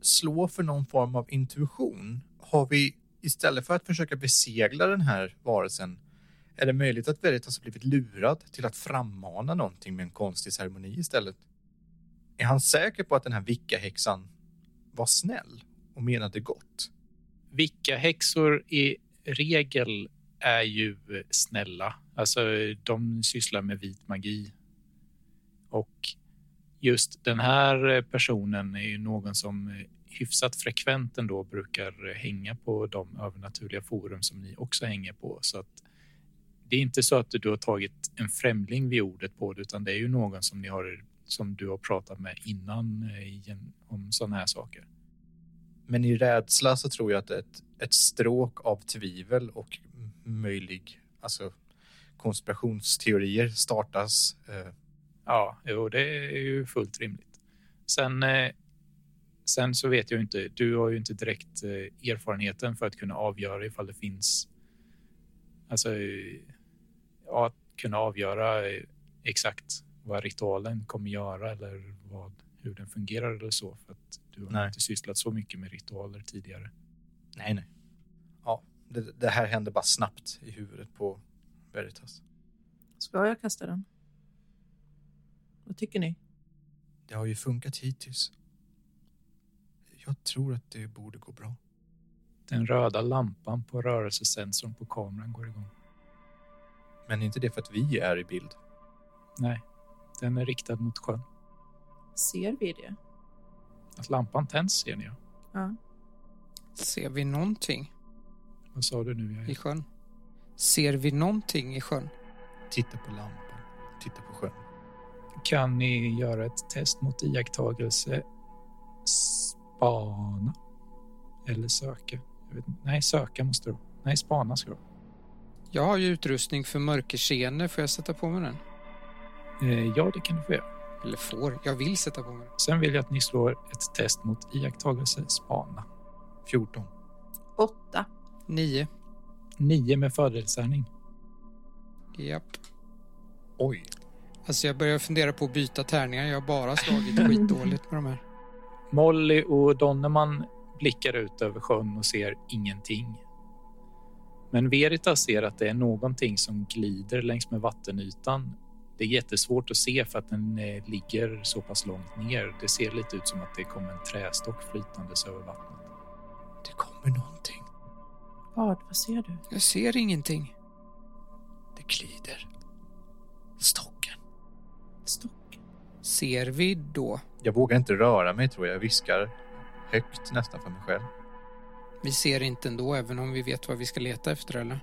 [SPEAKER 2] slå för någon form av intuition? Har vi istället för att försöka besegla den här varelsen är det möjligt att Veritas har blivit lurad till att frammana någonting med en konstig ceremoni istället? Är han säker på att den här vicka-häxan var snäll och menade gott?
[SPEAKER 3] Vilka häxor i regel är ju snälla. Alltså, de sysslar med vit magi. Och just den här personen är ju någon som hyfsat frekvent ändå brukar hänga på de övernaturliga forum som ni också hänger på. Så att det är inte så att du har tagit en främling vid ordet på det, utan det är ju någon som, ni har, som du har pratat med innan eh, i en- om sådana här saker.
[SPEAKER 2] Men i rädsla så tror jag att ett, ett stråk av tvivel och m- möjlig alltså, konspirationsteorier startas. Eh,
[SPEAKER 3] Ja, jo, det är ju fullt rimligt. Sen, eh, sen så vet jag ju inte. Du har ju inte direkt eh, erfarenheten för att kunna avgöra ifall det finns. Alltså, eh, ja, att kunna avgöra eh, exakt vad ritualen kommer göra eller vad, hur den fungerar eller så. För att du har
[SPEAKER 2] Nej.
[SPEAKER 3] inte sysslat så mycket med ritualer tidigare.
[SPEAKER 2] nej, nej. Ja, det, det här händer bara snabbt i huvudet på Veritas.
[SPEAKER 4] Ska jag kasta den? Vad tycker ni?
[SPEAKER 2] Det har ju funkat hittills. Jag tror att det borde gå bra.
[SPEAKER 3] Den röda lampan på rörelsesensorn på kameran går igång.
[SPEAKER 2] Men inte det för att vi är i bild.
[SPEAKER 3] Nej, den är riktad mot sjön.
[SPEAKER 4] Ser vi det?
[SPEAKER 3] Att lampan tänds ser ni. ja.
[SPEAKER 4] Ja.
[SPEAKER 1] Ser vi någonting
[SPEAKER 3] Vad sa du nu? Jag
[SPEAKER 1] i sjön? Ser vi någonting i sjön?
[SPEAKER 2] Titta på lampan. Titta på sjön.
[SPEAKER 3] kan ni göra ett test mot iakttagelse, spana eller söka. Jag vet inte. Nej, söka måste du. Nej, spana ska du.
[SPEAKER 1] Jag har ju utrustning för mörkerseende. Får jag sätta på mig den?
[SPEAKER 3] Eh, Ja, det kan du få göra.
[SPEAKER 1] Eller får? Jag vill sätta på mig den.
[SPEAKER 3] Sen vill jag att ni slår ett test mot iakttagelse, spana.
[SPEAKER 2] 14.
[SPEAKER 4] Åtta.
[SPEAKER 1] Nio.
[SPEAKER 3] Nio med fördelstärning.
[SPEAKER 1] Japp.
[SPEAKER 2] Oj,
[SPEAKER 1] Alltså jag börjar fundera på att byta tärningar. Jag har bara slagit skitdåligt med de här.
[SPEAKER 3] Molly och Donnerman blickar ut över sjön och ser ingenting. Men Veritas ser att det är någonting som glider längs med vattenytan. Det är jättesvårt att se för att den eh, ligger så pass långt ner. Det ser lite ut som att det kommer en trästock flytandes över vattnet.
[SPEAKER 2] det kommer någonting.
[SPEAKER 4] Vad? Vad ser du?
[SPEAKER 1] Jag ser ingenting.
[SPEAKER 3] Det glider. Stocken.
[SPEAKER 4] Stock.
[SPEAKER 1] Ser vi då?
[SPEAKER 2] Jag vågar inte röra mig tror jag. Jag viskar högt nästan för mig själv.
[SPEAKER 1] Vi ser inte ändå, även om vi vet vad vi ska leta efter, eller?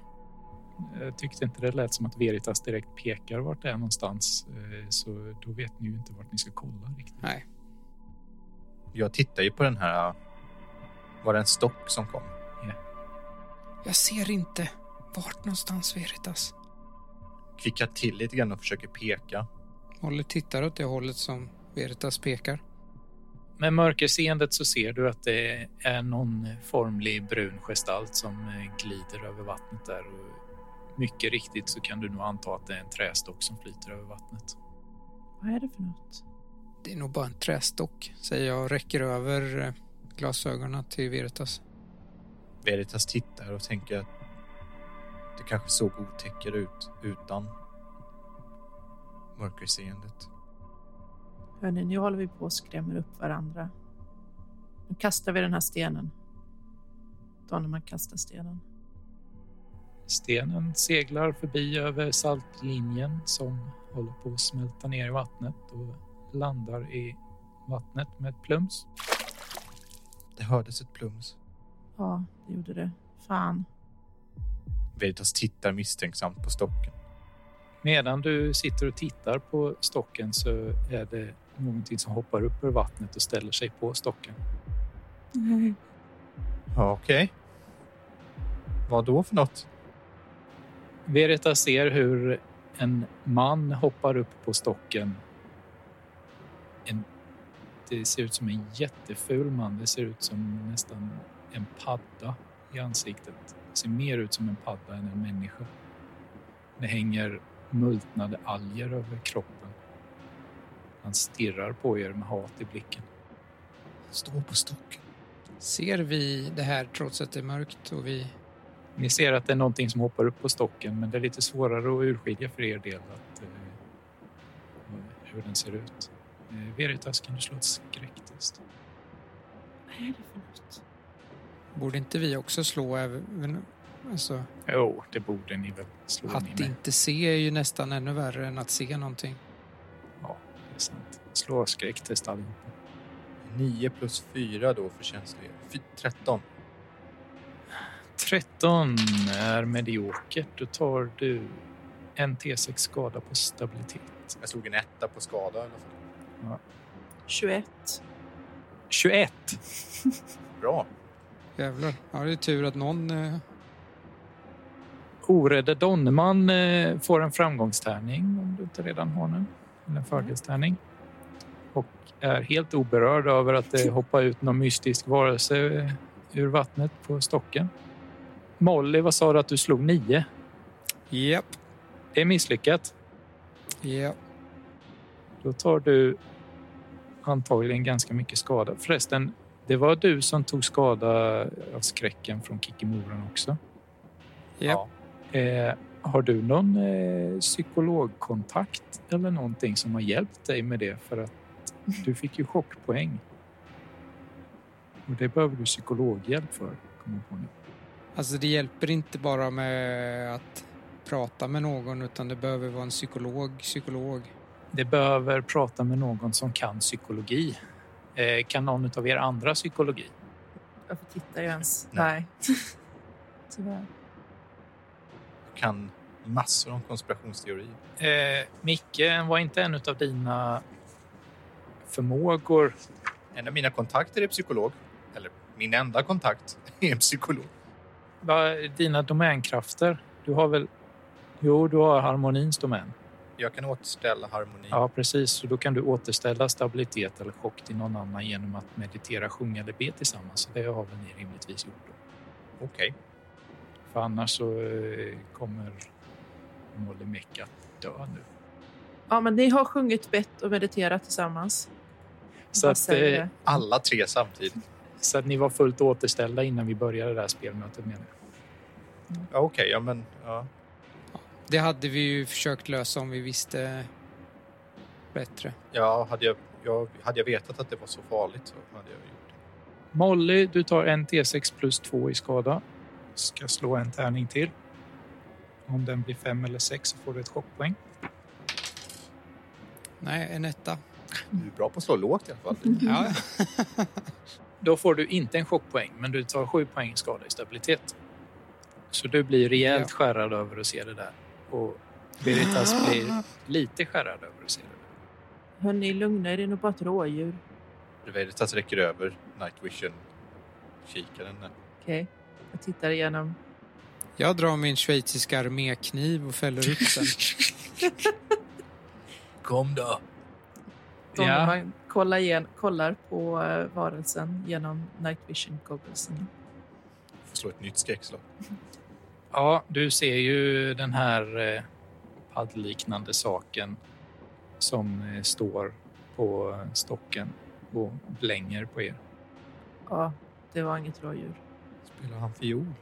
[SPEAKER 3] Jag tyckte inte det lät som att Veritas direkt pekar vart det är någonstans. eh, Så då vet ni ju inte vart ni ska kolla riktigt.
[SPEAKER 1] Nej.
[SPEAKER 2] Jag tittar ju på den här... Var det en stock som kom?
[SPEAKER 1] Jag ser inte. Vart någonstans, Veritas?
[SPEAKER 2] Klickar till lite grann och försöker peka.
[SPEAKER 1] Molly tittar åt det hållet som Veritas pekar.
[SPEAKER 3] Med mörkerseendet så ser du att det är någon formlig brun gestalt som eh, glider över vattnet där. Och mycket riktigt så kan du nog anta att det är en trästock som flyter över vattnet.
[SPEAKER 4] Vad är det för något?
[SPEAKER 1] Det är nog bara en trästock, säger jag och räcker över eh, glasögonen till Veritas.
[SPEAKER 2] Veritas tittar och tänker att det kanske såg otäckare ut utan mörkerseendet.
[SPEAKER 4] Hörni, nu håller vi på och skrämmer upp varandra. Nu kastar vi den här stenen. Då när man kastar stenen.
[SPEAKER 3] Stenen seglar förbi över saltlinjen som håller på att smälta ner i vattnet och landar i vattnet med ett plums.
[SPEAKER 2] Det hördes ett plums.
[SPEAKER 4] Ja, det gjorde det. Fan.
[SPEAKER 2] Veritas tittar misstänksamt på stocken.
[SPEAKER 3] Medan du sitter och tittar på stocken så är det någonting som hoppar upp ur vattnet och ställer sig på stocken.
[SPEAKER 2] Ja, okej. Vad då för något?
[SPEAKER 3] Verita ser hur en man hoppar upp på stocken. En, det ser ut som en jätteful man. Det ser ut som nästan en padda i ansiktet. Det ser mer ut som en padda än en människa. Det hänger multnade alger över kroppen. Han stirrar på er med hat i blicken.
[SPEAKER 2] Stå på stocken.
[SPEAKER 1] Ser vi det här trots att det är mörkt och vi...
[SPEAKER 3] Ni ser att det är någonting som hoppar upp på stocken men det är lite svårare att urskilja för er del att, eh, hur den ser ut. Eh, Veritas, kan du slå ett skräcktest?
[SPEAKER 4] Vad är det för något?
[SPEAKER 1] Borde inte vi också slå även... Alltså,
[SPEAKER 3] Jo, det borde ni väl slå in
[SPEAKER 1] att
[SPEAKER 3] med.
[SPEAKER 1] inte se är ju nästan ännu värre än att se någonting.
[SPEAKER 3] Det är sant. Slå skräcktest allihopa.
[SPEAKER 2] 9 plus 4 då för känslighet. Fy- 13.
[SPEAKER 3] 13 är mediokert. Då tar du en T6 skada på stabilitet.
[SPEAKER 2] Jag slog en etta på skada i alla fall.
[SPEAKER 4] 21.
[SPEAKER 3] 21!
[SPEAKER 2] Bra.
[SPEAKER 1] Jävlar. Ja, det är tur att någon... eh,
[SPEAKER 3] Orädde Donnerman eh, får en framgångstärning om du inte redan har den. Eller en fördelstärning. Och är helt oberörd över att det hoppar ut någon mystisk varelse eh, ur vattnet på stocken. Molly, vad sa du att du slog? Nio?
[SPEAKER 1] Japp.
[SPEAKER 3] Det är misslyckat.
[SPEAKER 1] Ja.
[SPEAKER 3] Då tar du antagligen ganska mycket skada. Förresten, det var du som tog skada av skräcken från Kikimoran också.
[SPEAKER 1] Ja.
[SPEAKER 3] Eh, har du någon eh, psykologkontakt eller någonting som har hjälpt dig med det? För att du fick ju chockpoäng. Och det behöver du psykologhjälp för. Kommer jag på nu.
[SPEAKER 1] Alltså det hjälper inte bara med att prata med någon utan det behöver vara en psykolog, psykolog.
[SPEAKER 3] Det behöver prata med någon som kan psykologi. Eh, kan någon av er andra psykologi?
[SPEAKER 4] Varför tittar jag ens?
[SPEAKER 2] Nej.
[SPEAKER 4] Tyvärr.
[SPEAKER 2] Jag kan massor om konspirationsteorier.
[SPEAKER 3] Eh, Micke var inte en av dina förmågor.
[SPEAKER 2] En av mina kontakter är psykolog. Eller min enda kontakt är en psykolog.
[SPEAKER 3] Va, dina domänkrafter. Du har väl... Jo, du har harmonins domän.
[SPEAKER 2] Jag kan återställa harmoni.
[SPEAKER 3] Ja, precis. Så då kan du återställa stabilitet eller chock till någon annan genom att meditera, sjunga eller be tillsammans. Så det har väl ni rimligtvis gjort då.
[SPEAKER 2] Okej.
[SPEAKER 3] För annars så eh, kommer Molly Meck att dö nu.
[SPEAKER 4] Ja, men ni har sjungit bett och mediterat tillsammans.
[SPEAKER 3] Så
[SPEAKER 4] Vad
[SPEAKER 3] att,
[SPEAKER 4] säger
[SPEAKER 3] eh,
[SPEAKER 4] det?
[SPEAKER 2] Alla tre samtidigt.
[SPEAKER 3] Så att ni var fullt återställda innan vi började det här spelmötet menar jag.
[SPEAKER 2] Ja, Okej, ja men... Ja.
[SPEAKER 1] Det hade vi ju försökt lösa om vi visste bättre.
[SPEAKER 2] Ja, hade, jag, jag, hade jag vetat att det var så farligt så hade jag gjort det.
[SPEAKER 3] Molly, du tar en T6 plus 2 i skada. ska slå en tärning till. Om den blir fem eller sex så får du ett chockpoäng.
[SPEAKER 1] Nej, en etta. Mm.
[SPEAKER 5] Du är bra på att slå lågt i alla fall.
[SPEAKER 1] Ja,
[SPEAKER 3] Då får du inte en chockpoäng, men du tar sju poäng i skada i stabilitet. Så du blir rejält
[SPEAKER 1] Ja.
[SPEAKER 3] skärrad över att se det där. Och Veritas blir lite skärrad över att se det. där.
[SPEAKER 4] Hörni, lugna er, det är nog bara ett rådjur.
[SPEAKER 5] Veritas räcker över night vision kikaren. där.
[SPEAKER 4] Okej, jag tittar igenom.
[SPEAKER 1] jag drar min schweiziska armékniv och fäller upp den.
[SPEAKER 2] Kom då!
[SPEAKER 3] Ja.
[SPEAKER 4] Ja. Man kollar, igen, kollar på eh, varelsen genom night vision gogglesen.
[SPEAKER 5] Får slå ett nytt skräckslag.
[SPEAKER 3] Ja, du ser ju den här eh, paddliknande saken som eh, står på stocken och blänger på er.
[SPEAKER 4] Ja, det var inget rådjur.
[SPEAKER 2] Spelar han fiol?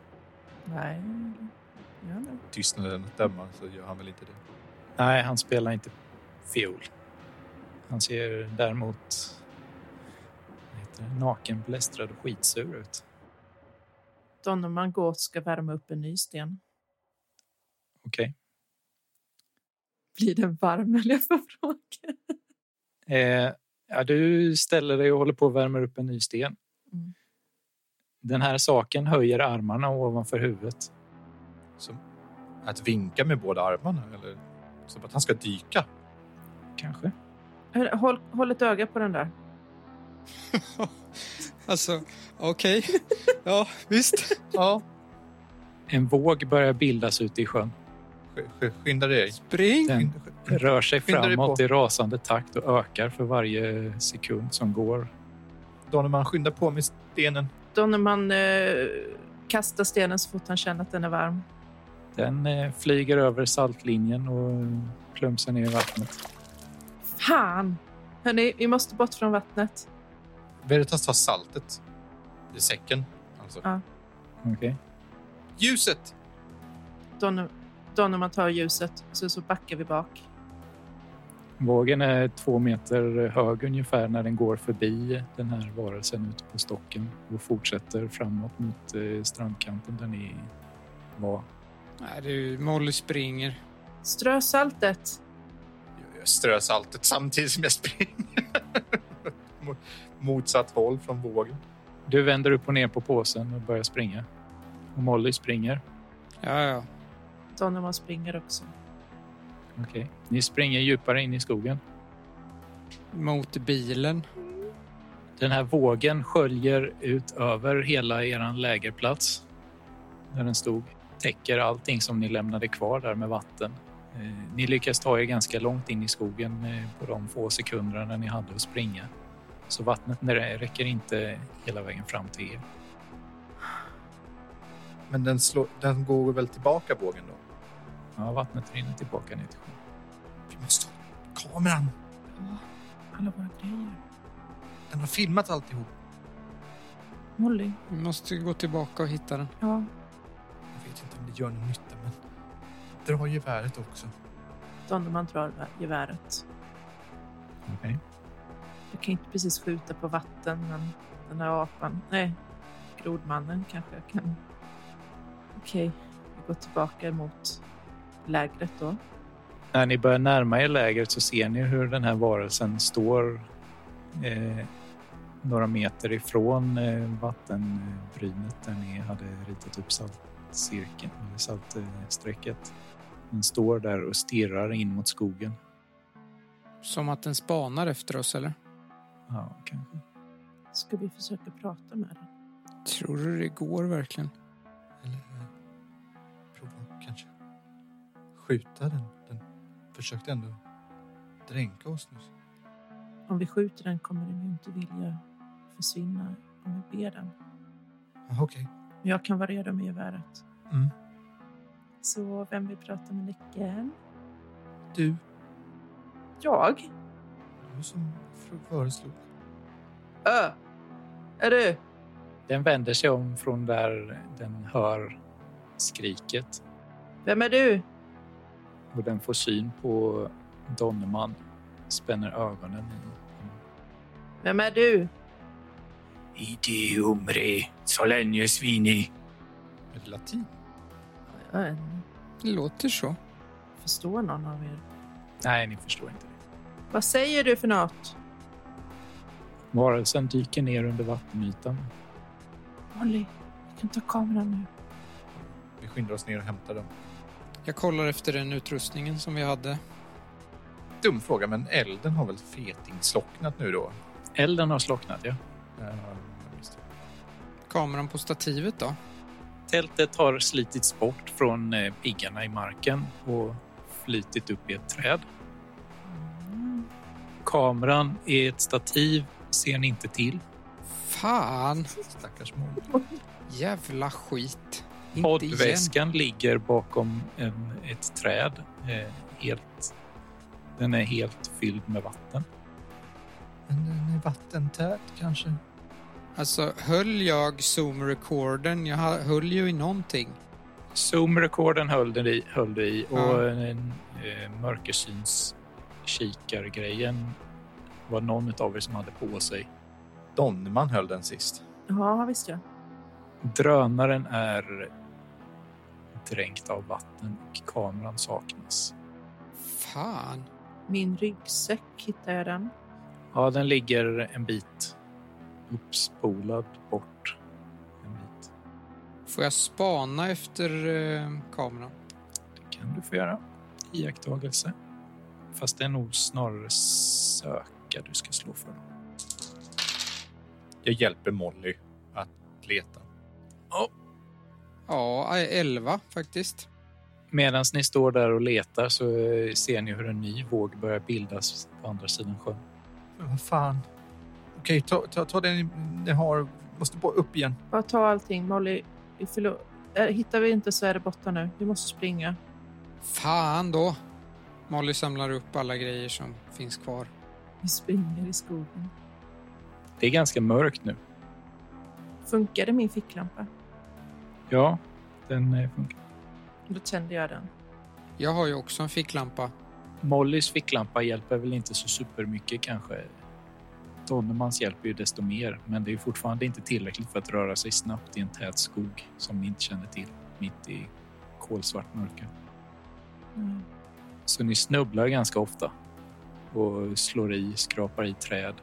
[SPEAKER 4] Nej. Ja, nej.
[SPEAKER 5] Tystnaden att döma så gör han väl inte det.
[SPEAKER 3] Nej, han spelar inte fiol. Han ser däremot vad heter det, nakenblästrad och skitsur ut.
[SPEAKER 4] Donnerman går och ska värma upp en ny sten.
[SPEAKER 3] Okej.
[SPEAKER 4] Blir den varm eller jag får fråga?
[SPEAKER 3] Eh, ja, du ställer dig och håller på att värma upp en ny sten.
[SPEAKER 4] Mm.
[SPEAKER 3] Den här saken höjer armarna ovanför huvudet.
[SPEAKER 5] Som att vinka med båda armarna eller som att han ska dyka.
[SPEAKER 3] Kanske.
[SPEAKER 4] Hör- Håll, håll ett öga på den där.
[SPEAKER 1] alltså, okej. Ja, visst.
[SPEAKER 5] Ja,
[SPEAKER 3] En våg börjar bildas ute i sjön.
[SPEAKER 5] sk- sk- skynda dig.
[SPEAKER 1] Spring!
[SPEAKER 3] Den
[SPEAKER 5] Skynda- skynda-
[SPEAKER 3] rör sig
[SPEAKER 5] Skynda dig
[SPEAKER 3] framåt
[SPEAKER 5] på.
[SPEAKER 3] i rasande takt och ökar för varje sekund som går.
[SPEAKER 5] Donovan, skynda på med stenen.
[SPEAKER 4] Donnerman eh, kastar stenen så fort han känner att den är varm.
[SPEAKER 3] Den eh, flyger över saltlinjen och plumsar ner i vattnet.
[SPEAKER 4] Fan! Hörni, vi måste bort från vattnet.
[SPEAKER 5] Veritas tar saltet i säcken. Alltså.
[SPEAKER 4] Ja.
[SPEAKER 3] Okej.
[SPEAKER 5] Ljuset!
[SPEAKER 4] Donner- Donnerman tar ljuset, så, så backar vi bak.
[SPEAKER 3] Vågen är två meter hög ungefär när den går förbi den här varelsen ute på stocken och fortsätter framåt mot eh, strandkanten där ni var.
[SPEAKER 1] Nej, du, Molly springer.
[SPEAKER 4] Strö saltet.
[SPEAKER 5] Jag strör saltet samtidigt som jag springer. Mot- Motsatt håll från vågen.
[SPEAKER 3] Du vänder upp och ner på påsen och börjar springa. Och Molly springer.
[SPEAKER 1] Ja, ja.
[SPEAKER 4] Donnerman springer också.
[SPEAKER 3] Okej. Ni springer djupare in i skogen.
[SPEAKER 1] Mot bilen.
[SPEAKER 3] Den här vågen sköljer ut över hela er lägerplats där den stod. Täcker allting som ni lämnade kvar där med vatten. Eh, Ni lyckas ta er ganska långt in i skogen eh, på de få sekunderna ni hade att springa. Så vattnet nä- räcker inte hela vägen fram till er.
[SPEAKER 5] Men den, slår, den går väl tillbaka vågen då?
[SPEAKER 3] Ja, vattnet rinner tillbaka ner till sjön.
[SPEAKER 2] Vi måste ha kameran!
[SPEAKER 4] Alla våra grejer.
[SPEAKER 2] Den har filmat alltihop.
[SPEAKER 4] Molly.
[SPEAKER 1] Vi måste gå tillbaka och hitta den.
[SPEAKER 4] Ja.
[SPEAKER 2] Jag vet inte om det gör någon nytta, men dra geväret också.
[SPEAKER 4] Donnerman drar vä- geväret.
[SPEAKER 3] Okej.
[SPEAKER 4] Jag kan inte precis skjuta på vatten, men den här apan... Nej, grodmannen kanske jag kan. Okej, vi går tillbaka mot lägret då.
[SPEAKER 3] När ni börjar närma er lägret så ser ni hur den här varelsen står eh, några meter ifrån eh, vattenbrynet där ni hade ritat upp saltcirkeln, eller saltstrecket. Den står där och stirrar in mot skogen.
[SPEAKER 1] Som att den spanar efter oss, eller?
[SPEAKER 3] Ja, kanske.
[SPEAKER 4] Ska vi försöka prata med den?
[SPEAKER 1] Tror du det går verkligen?
[SPEAKER 2] Eller eh, prova kanske skjuta den. Den försökte ändå dränka oss nu.
[SPEAKER 4] Om vi skjuter den kommer den ju inte vilja försvinna om vi ber den.
[SPEAKER 2] Ah, Okej.
[SPEAKER 4] Men jag kan vara redo med geväret.
[SPEAKER 2] Mm.
[SPEAKER 4] Så vem vill prata med nyckeln?
[SPEAKER 2] Du,
[SPEAKER 4] Jag?
[SPEAKER 2] du som föreslog.
[SPEAKER 4] Ö! Är du?
[SPEAKER 3] Den vänder sig om från där den hör skriket
[SPEAKER 4] Vem är du?
[SPEAKER 3] och den får syn på Donnerman. Spänner ögonen i
[SPEAKER 4] Vem är du?
[SPEAKER 6] Idi umri, så länge svini.
[SPEAKER 5] Är det latin?
[SPEAKER 4] Jag vet inte.
[SPEAKER 1] Det låter så.
[SPEAKER 4] Äh, Förstår någon av er?
[SPEAKER 3] Nej, ni förstår inte.
[SPEAKER 4] Vad säger du för något?
[SPEAKER 3] Varelsen dyker ner under vattenytan.
[SPEAKER 4] Molly, vi kan ta kameran nu.
[SPEAKER 5] Vi skyndar oss ner och hämtar den.
[SPEAKER 1] Jag kollar efter den utrustningen som vi hade.
[SPEAKER 5] Dum fråga, men elden har väl fetingslocknat nu då?
[SPEAKER 3] Elden har slocknat, ja.
[SPEAKER 5] Eh, just det.
[SPEAKER 1] Kameran på stativet då?
[SPEAKER 3] Tältet har slitits bort från eh, piggarna i marken och flytit upp i ett träd.
[SPEAKER 4] Mm.
[SPEAKER 3] Kameran är ett stativ, ser ni inte till.
[SPEAKER 1] Fan!
[SPEAKER 5] Stackars mål.
[SPEAKER 1] Jävla skit. Inte igen.
[SPEAKER 3] Poddväskan ligger bakom en, ett träd. Eh, helt, den är helt fylld med vatten.
[SPEAKER 2] Men
[SPEAKER 5] eh,
[SPEAKER 2] den är vattentät kanske?
[SPEAKER 1] Alltså, höll jag zoom-recorden? Jag ha- höll ju i någonting.
[SPEAKER 3] Zoom-rekorden höll, den i- höll du i och
[SPEAKER 1] Ja.
[SPEAKER 3] en, eh, mörkersyns-kikargrejen var någon av er som hade på sig.
[SPEAKER 5] Donnerman höll den sist.
[SPEAKER 4] Ja, visst ja.
[SPEAKER 3] Drönaren är dränkt av vatten och kameran saknas.
[SPEAKER 1] Fan.
[SPEAKER 4] Min ryggsäck, hittar jag den?
[SPEAKER 3] Ja, den ligger en bit uppspolad bort. En bit.
[SPEAKER 1] Får jag spana efter eh, kameran?
[SPEAKER 3] Det kan du få göra. Iakttagelse. Fast det är nog snarare söka du ska slå för.
[SPEAKER 5] Jag hjälper Molly att leta.
[SPEAKER 1] Ja, eh, 11 faktiskt.
[SPEAKER 3] Medan ni står där och letar så eh, ser ni hur en ny våg börjar bildas på andra sidan sjön.
[SPEAKER 2] Men vad fan. Okej, ta, ta, ta den ni har. Måste bara upp igen.
[SPEAKER 4] Bara ta allting. Molly, vi förlor... eh, Hittar vi inte så är det borta nu. Vi måste springa.
[SPEAKER 1] Fan då. Molly samlar upp alla grejer som finns kvar.
[SPEAKER 4] Vi springer i skogen.
[SPEAKER 3] Det är ganska mörkt nu.
[SPEAKER 4] Funkade min ficklampa?
[SPEAKER 3] Ja, den eh, funkar.
[SPEAKER 4] Då tänder jag den.
[SPEAKER 1] Jag har ju också en ficklampa.
[SPEAKER 3] Mollys ficklampa hjälper väl inte så supermycket kanske. Donnermans hjälper ju desto mer, men det är ju fortfarande inte tillräckligt för att röra sig snabbt i en tät skog som ni inte känner till, mitt i kolsvart mörker.
[SPEAKER 4] Mm.
[SPEAKER 3] Så ni snubblar ganska ofta och slår i, skrapar i träd,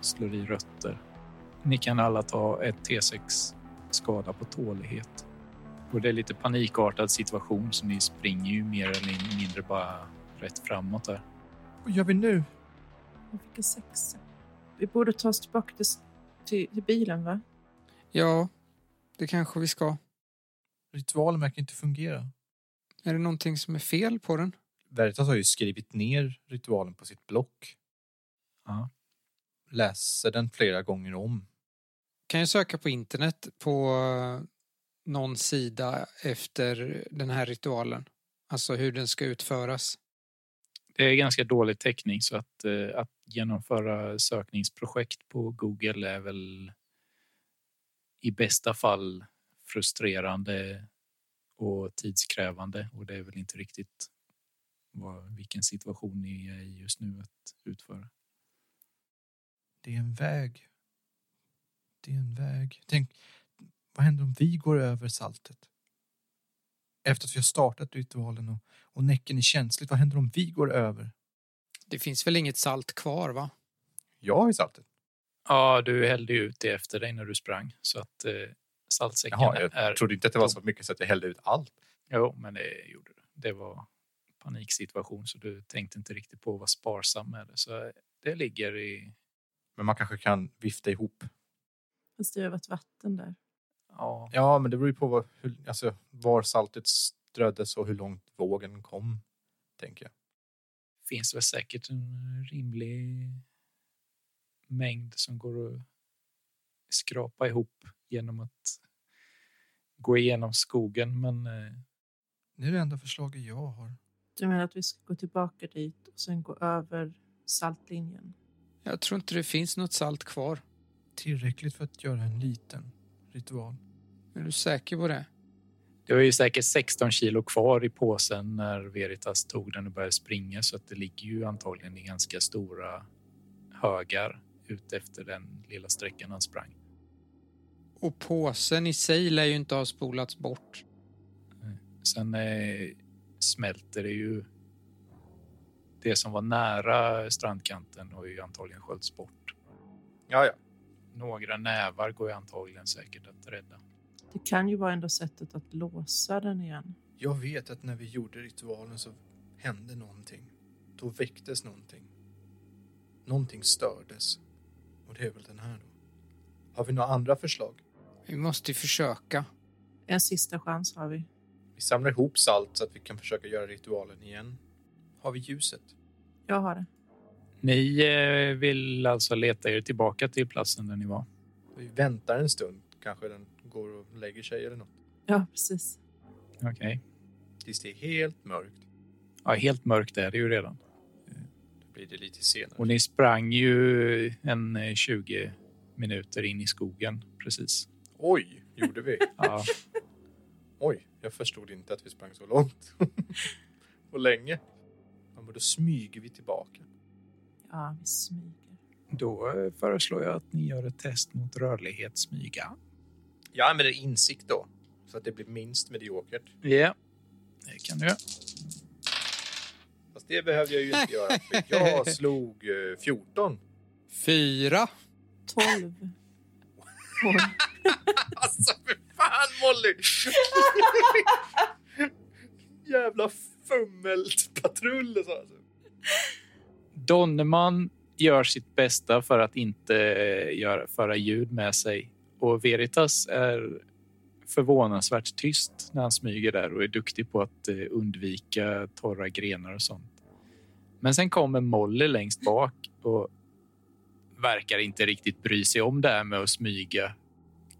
[SPEAKER 3] slår i rötter. Ni kan alla ta ett T6 skada på tålighet. Och det är lite panikartad situation så ni springer ju mer eller mindre bara rätt framåt där.
[SPEAKER 2] Vad gör vi nu?
[SPEAKER 4] Jag fick en sexa. Vi borde ta oss tillbaka till, till, till bilen, va?
[SPEAKER 1] Ja, det kanske vi ska.
[SPEAKER 2] Ritualen verkar inte fungera.
[SPEAKER 1] Är det någonting som är fel på den?
[SPEAKER 5] Veritas har ju skrivit ner ritualen på sitt block.
[SPEAKER 3] Ja.
[SPEAKER 5] Läser den flera gånger om.
[SPEAKER 1] Kan jag söka på internet på eh, någon sida efter den här ritualen? Alltså hur den ska utföras.
[SPEAKER 3] Det är eh, ganska dålig täckning så att, eh, att genomföra sökningsprojekt på Google är väl i bästa fall frustrerande och tidskrävande och det är väl inte riktigt vad, vilken situation ni är i just nu att utföra.
[SPEAKER 2] Det är en väg. Det är en väg. Tänk, vad händer om vi går över saltet? Efter att vi har startat ritualen och, och näcken är känsligt, vad händer om vi går över?
[SPEAKER 1] Det finns väl inget salt kvar va?
[SPEAKER 5] Jag har ju saltet.
[SPEAKER 3] Ja, du hällde ju ut det efter dig när du sprang så att eh, saltsäckarna
[SPEAKER 5] Jaha, jag
[SPEAKER 3] är...
[SPEAKER 5] trodde inte att det var så mycket så att jag hällde ut allt.
[SPEAKER 3] Jo, men det gjorde du. Det var paniksituation så du tänkte inte riktigt på att vara sparsam med det. Så det ligger i
[SPEAKER 5] Men man kanske kan vifta ihop.
[SPEAKER 4] Fast det har varit vatten där.
[SPEAKER 3] Ja,
[SPEAKER 5] Ja, men det beror ju på vad, hur, alltså, var saltet ströddes och hur långt vågen kom. Tänker jag.
[SPEAKER 3] finns väl säkert en rimlig mängd som går att skrapa ihop genom att gå igenom skogen. Men eh,
[SPEAKER 2] Det är det enda förslaget jag har.
[SPEAKER 4] Du menar att vi ska gå tillbaka dit och sen gå över saltlinjen?
[SPEAKER 1] Jag tror inte det finns något salt kvar.
[SPEAKER 2] Tillräckligt för att göra en liten ritual.
[SPEAKER 1] Är du säker på det?
[SPEAKER 3] det var ju säkert 16 kilo kvar i påsen när Veritas tog den och började springa så att det ligger ju antagligen i ganska stora högar ut efter den lilla sträckan han sprang.
[SPEAKER 1] Och påsen i sig lär ju inte ha spolats bort.
[SPEAKER 3] Sen eh, smälter det ju. Det som var nära strandkanten har ju antagligen sköljts bort.
[SPEAKER 5] Ja, ja.
[SPEAKER 3] Några nävar går ju antagligen säkert att rädda.
[SPEAKER 4] Det kan ju vara enda sättet att låsa den igen.
[SPEAKER 2] Jag vet att när vi gjorde ritualen så hände någonting. Då väcktes någonting. Någonting stördes. Och det är väl den här då. Har vi några andra förslag?
[SPEAKER 1] Vi måste ju försöka.
[SPEAKER 4] En sista chans har vi.
[SPEAKER 2] Vi samlar ihop salt så att vi kan försöka göra ritualen igen. Har vi ljuset?
[SPEAKER 4] Jag har det.
[SPEAKER 3] Ni eh, vill alltså leta er tillbaka till platsen där ni var?
[SPEAKER 2] Vi väntar en stund. Kanske den går och lägger sig eller något.
[SPEAKER 4] Ja, precis.
[SPEAKER 3] Okej.
[SPEAKER 2] Tills det är helt mörkt.
[SPEAKER 3] Ja, helt mörkt är det ju redan.
[SPEAKER 2] Då blir det lite senare.
[SPEAKER 3] Och ni sprang ju en eh, 20 minuter in i skogen precis.
[SPEAKER 2] Oj, gjorde vi?
[SPEAKER 3] Ja,
[SPEAKER 2] Oj, jag förstod inte att vi sprang så långt. och länge. Ja, men då smyger vi tillbaka.
[SPEAKER 4] Ja, vi smyger.
[SPEAKER 3] då eh, föreslår jag att ni gör ett test mot rörlighet smyga.
[SPEAKER 2] Jag använder insikt då. Så att det blir minst mediokert.
[SPEAKER 3] Ja, det kan du.
[SPEAKER 2] Fast det behövde jag ju inte göra. För jag slog eh, 14.
[SPEAKER 1] Fyra.
[SPEAKER 4] 12.
[SPEAKER 5] Alltså, för fan Molly! Jävla fummelpatrull. och så, Alltså.
[SPEAKER 3] Donnerman gör sitt bästa för att inte eh, göra, föra ljud med sig och Veritas är förvånansvärt tyst när han smyger där och är duktig på att eh, undvika torra grenar och sånt. Men sen kommer Molly längst bak och verkar inte riktigt bry sig om det här med att smyga.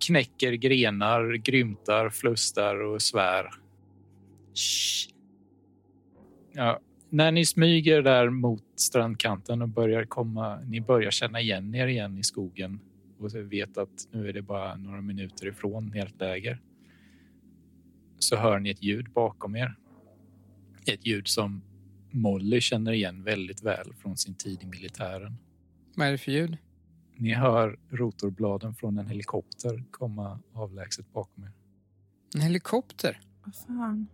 [SPEAKER 3] Knäcker grenar, grymtar, flustar och svär.
[SPEAKER 4] Shh.
[SPEAKER 3] Ja, när ni smyger där mot strandkanten och börjar komma, ni börjar känna igen er igen i skogen och så vet att nu är det bara några minuter ifrån ert läger. Så hör ni ett ljud bakom er. Ett ljud som Molly känner igen väldigt väl från sin tid i militären.
[SPEAKER 1] Vad är det för ljud?
[SPEAKER 3] Ni hör rotorbladen från en helikopter komma avlägset bakom er.
[SPEAKER 1] En helikopter?
[SPEAKER 4] Vad fan?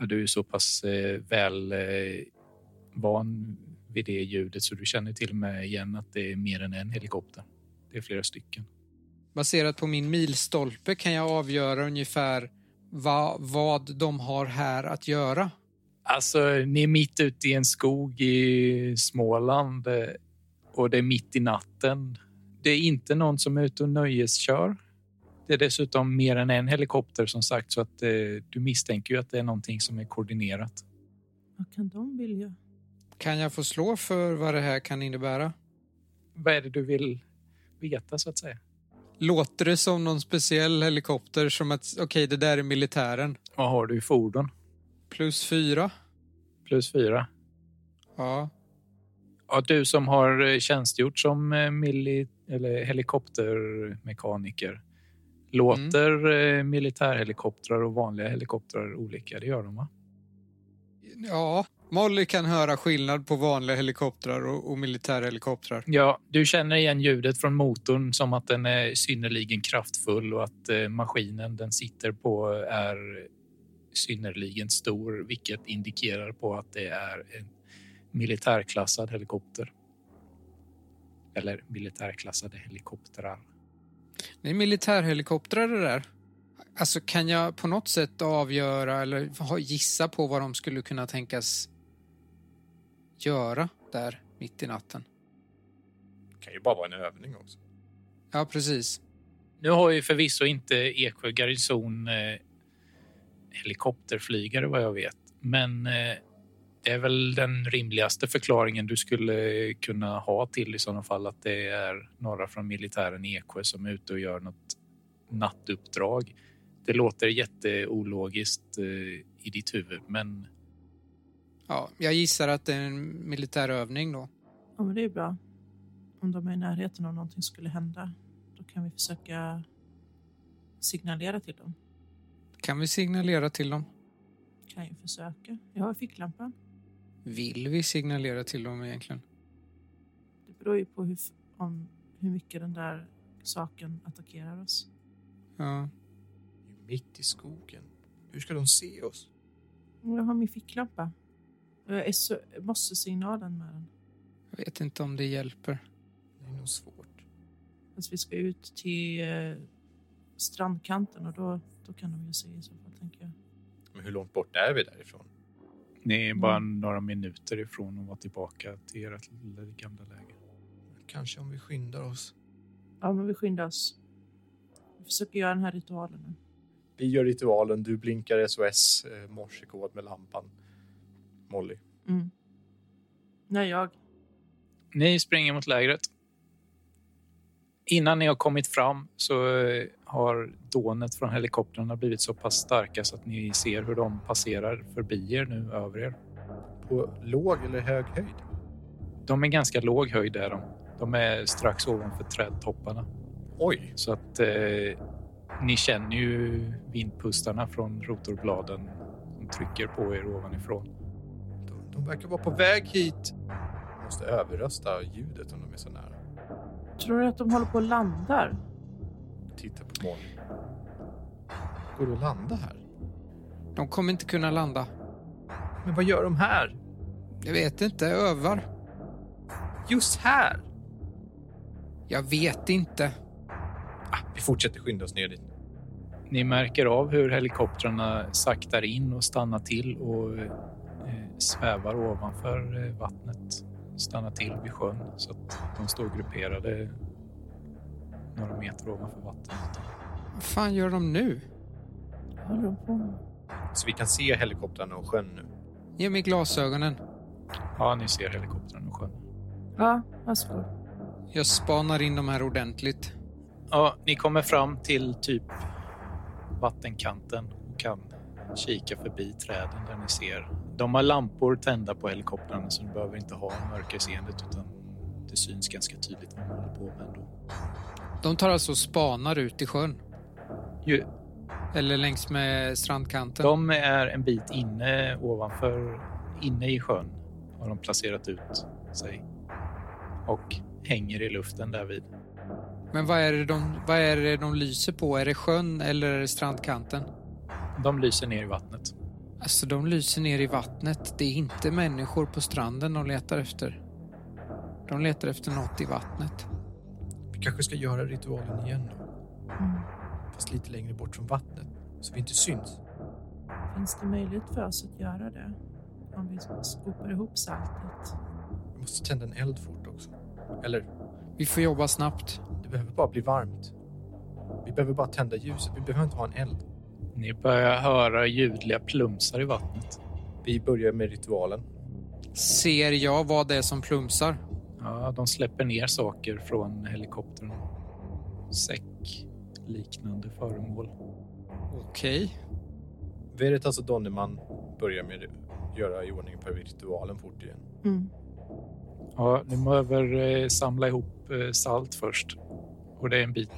[SPEAKER 3] Ja, Du är så pass eh, väl eh, van vid det ljudet så du känner till och med igen att det är mer än en helikopter. Det är flera stycken.
[SPEAKER 1] Baserat på min milstolpe kan jag avgöra ungefär va, vad de har här att göra.
[SPEAKER 3] Alltså, ni är mitt ute i en skog i Småland eh, och det är mitt i natten. Det är inte någon som är ute och nöjeskör. Det är dessutom mer än en helikopter som sagt så att eh, du misstänker ju att det är någonting som är koordinerat.
[SPEAKER 4] Vad kan de vilja?
[SPEAKER 1] Kan jag få slå för vad det här kan innebära?
[SPEAKER 3] Vad är det du vill veta så att säga?
[SPEAKER 1] Låter det som någon speciell helikopter som att okej, det där är militären?
[SPEAKER 3] Vad har du i fordon?
[SPEAKER 1] Plus fyra?
[SPEAKER 3] Plus fyra.
[SPEAKER 1] Ja.
[SPEAKER 3] Ja, du som har eh, tjänstgjort som eh, mili- eller helikoptermekaniker. Låter eh, militärhelikoptrar och vanliga helikoptrar olika? Det gör de, va?
[SPEAKER 1] Ja. Molly kan höra skillnad på vanliga helikoptrar och, och militärhelikoptrar.
[SPEAKER 3] Ja, du känner igen ljudet från motorn som att den är synnerligen kraftfull och att eh, maskinen den sitter på är synnerligen stor, vilket indikerar på att det är en militärklassad helikopter. Eller militärklassade helikoptrar.
[SPEAKER 1] Det är militärhelikoptrar det där. Alltså kan jag på något sätt avgöra eller ha- gissa på vad de skulle kunna tänkas göra där mitt i natten?
[SPEAKER 5] Det kan ju bara vara en övning också.
[SPEAKER 1] Ja, precis.
[SPEAKER 3] Nu har ju förvisso inte Eksjö garnison eh, helikopterflygare vad jag vet, men eh, det är väl den rimligaste förklaringen du skulle kunna ha till i sådana fall att det är några från militären i Eksjö som är ute och gör något nattuppdrag. Det låter jätteologiskt eh, i ditt huvud, men
[SPEAKER 1] Ja, jag gissar att det är en militär övning då.
[SPEAKER 4] Ja, men det är bra. Om de är i närheten om någonting skulle hända, då kan vi försöka signalera till dem.
[SPEAKER 1] Kan vi signalera till dem?
[SPEAKER 4] Kan ju försöka. Jag har ficklampan.
[SPEAKER 1] Vill vi signalera till dem egentligen?
[SPEAKER 4] Det beror ju på hur, f- om, hur mycket den där saken attackerar oss.
[SPEAKER 1] Ja.
[SPEAKER 5] Vi är Mitt i skogen. Hur ska de se oss?
[SPEAKER 4] Jag har min ficklampa. Och Jag är så, måste signalen med den.
[SPEAKER 1] Jag vet inte om det hjälper.
[SPEAKER 5] Det är nog svårt.
[SPEAKER 4] Alltså, vi ska ut till eh, strandkanten och då, då kan de ju se i så fall, tänker jag.
[SPEAKER 5] Men hur långt bort är vi därifrån?
[SPEAKER 3] Ni är bara några minuter ifrån att vara tillbaka till ert lilla gamla läger.
[SPEAKER 5] Kanske om vi skyndar oss.
[SPEAKER 4] Ja, men vi skyndar oss. Vi försöker göra den här ritualen nu.
[SPEAKER 5] Vi gör ritualen. Du blinkar SOS eh, morsekod med lampan. Molly.
[SPEAKER 4] Mm. Nej, jag.
[SPEAKER 3] Ni springer mot lägret. Innan ni har kommit fram så eh, har dånet från helikoptrarna blivit så pass starka så att ni ser hur de passerar förbi er nu över er.
[SPEAKER 5] På låg eller hög höjd?
[SPEAKER 3] De är ganska låg höjd är de. De är strax ovanför trädtopparna.
[SPEAKER 5] Oj,
[SPEAKER 3] Så att eh, ni känner ju vindpustarna från rotorbladen som trycker på er ovanifrån.
[SPEAKER 5] de, de verkar vara på väg hit. Jag måste överrösta ljudet om de är så nära.
[SPEAKER 4] Tror du att de håller på och landar?
[SPEAKER 5] Titta på Molly. Går det att landa här?
[SPEAKER 1] De kommer inte kunna landa.
[SPEAKER 5] Men vad gör de här?
[SPEAKER 1] Jag vet inte. Övar.
[SPEAKER 5] Just här?
[SPEAKER 1] Jag vet inte.
[SPEAKER 5] Ah, vi fortsätter skynda oss ner dit.
[SPEAKER 3] Ni märker av hur helikoptrarna saktar in och stannar till och eh, svävar ovanför eh, vattnet. Stannar till vid sjön så att de står grupperade några meter ovanför vattnet.
[SPEAKER 1] Vad fan gör de nu?
[SPEAKER 4] Vad håller de på med?
[SPEAKER 5] Så vi kan se helikoptrarna och sjön nu.
[SPEAKER 1] Ge mig glasögonen.
[SPEAKER 3] Ja, ni ser helikoptrarna och sjön.
[SPEAKER 4] Ja, jag skår.
[SPEAKER 1] Jag spanar in de här ordentligt.
[SPEAKER 3] Ja, ni kommer fram till typ vattenkanten och kan kika förbi träden där ni ser. De har lampor tända på helikoptrarna så ni behöver inte ha mörkerseendet utan det syns ganska tydligt vad de håller på med ändå.
[SPEAKER 1] De tar alltså och spanar ut i sjön.
[SPEAKER 3] Ju-
[SPEAKER 1] Eller längs med strandkanten.
[SPEAKER 3] De är en bit inne ovanför, inne i sjön har de placerat ut sig och hänger i luften därvid.
[SPEAKER 1] Men vad är, det de, vad är det de lyser på? Är det sjön eller är det strandkanten?
[SPEAKER 3] De lyser ner i vattnet.
[SPEAKER 1] Alltså, de lyser ner i vattnet. Det är inte människor på stranden de letar efter. De letar efter något i vattnet.
[SPEAKER 2] Vi kanske ska göra ritualen igen då,
[SPEAKER 4] Mm.
[SPEAKER 2] fast lite längre bort från vattnet så vi inte syns.
[SPEAKER 4] Finns det möjlighet för oss att göra det? Om vi skopar ihop saltet?
[SPEAKER 2] Vi måste tända en eld fort också. Eller,
[SPEAKER 1] Vi får jobba snabbt.
[SPEAKER 2] det behöver bara bli varmt. Vi behöver bara tända ljuset. Vi behöver inte ha en eld.
[SPEAKER 3] Ni börjar höra ljudliga plumsar i vattnet.
[SPEAKER 5] Vi börjar med ritualen.
[SPEAKER 1] Ser jag vad det är som plumsar?
[SPEAKER 3] Ja, de släpper ner saker från helikoptern. Säck, liknande föremål.
[SPEAKER 1] Okej.
[SPEAKER 2] alltså
[SPEAKER 5] Veritas och Donnerman börjar med att göra i ordning på ritualen fort igen.
[SPEAKER 4] Mm.
[SPEAKER 3] Ja, ni behöver eh, samla ihop eh, salt först. Och det är en bit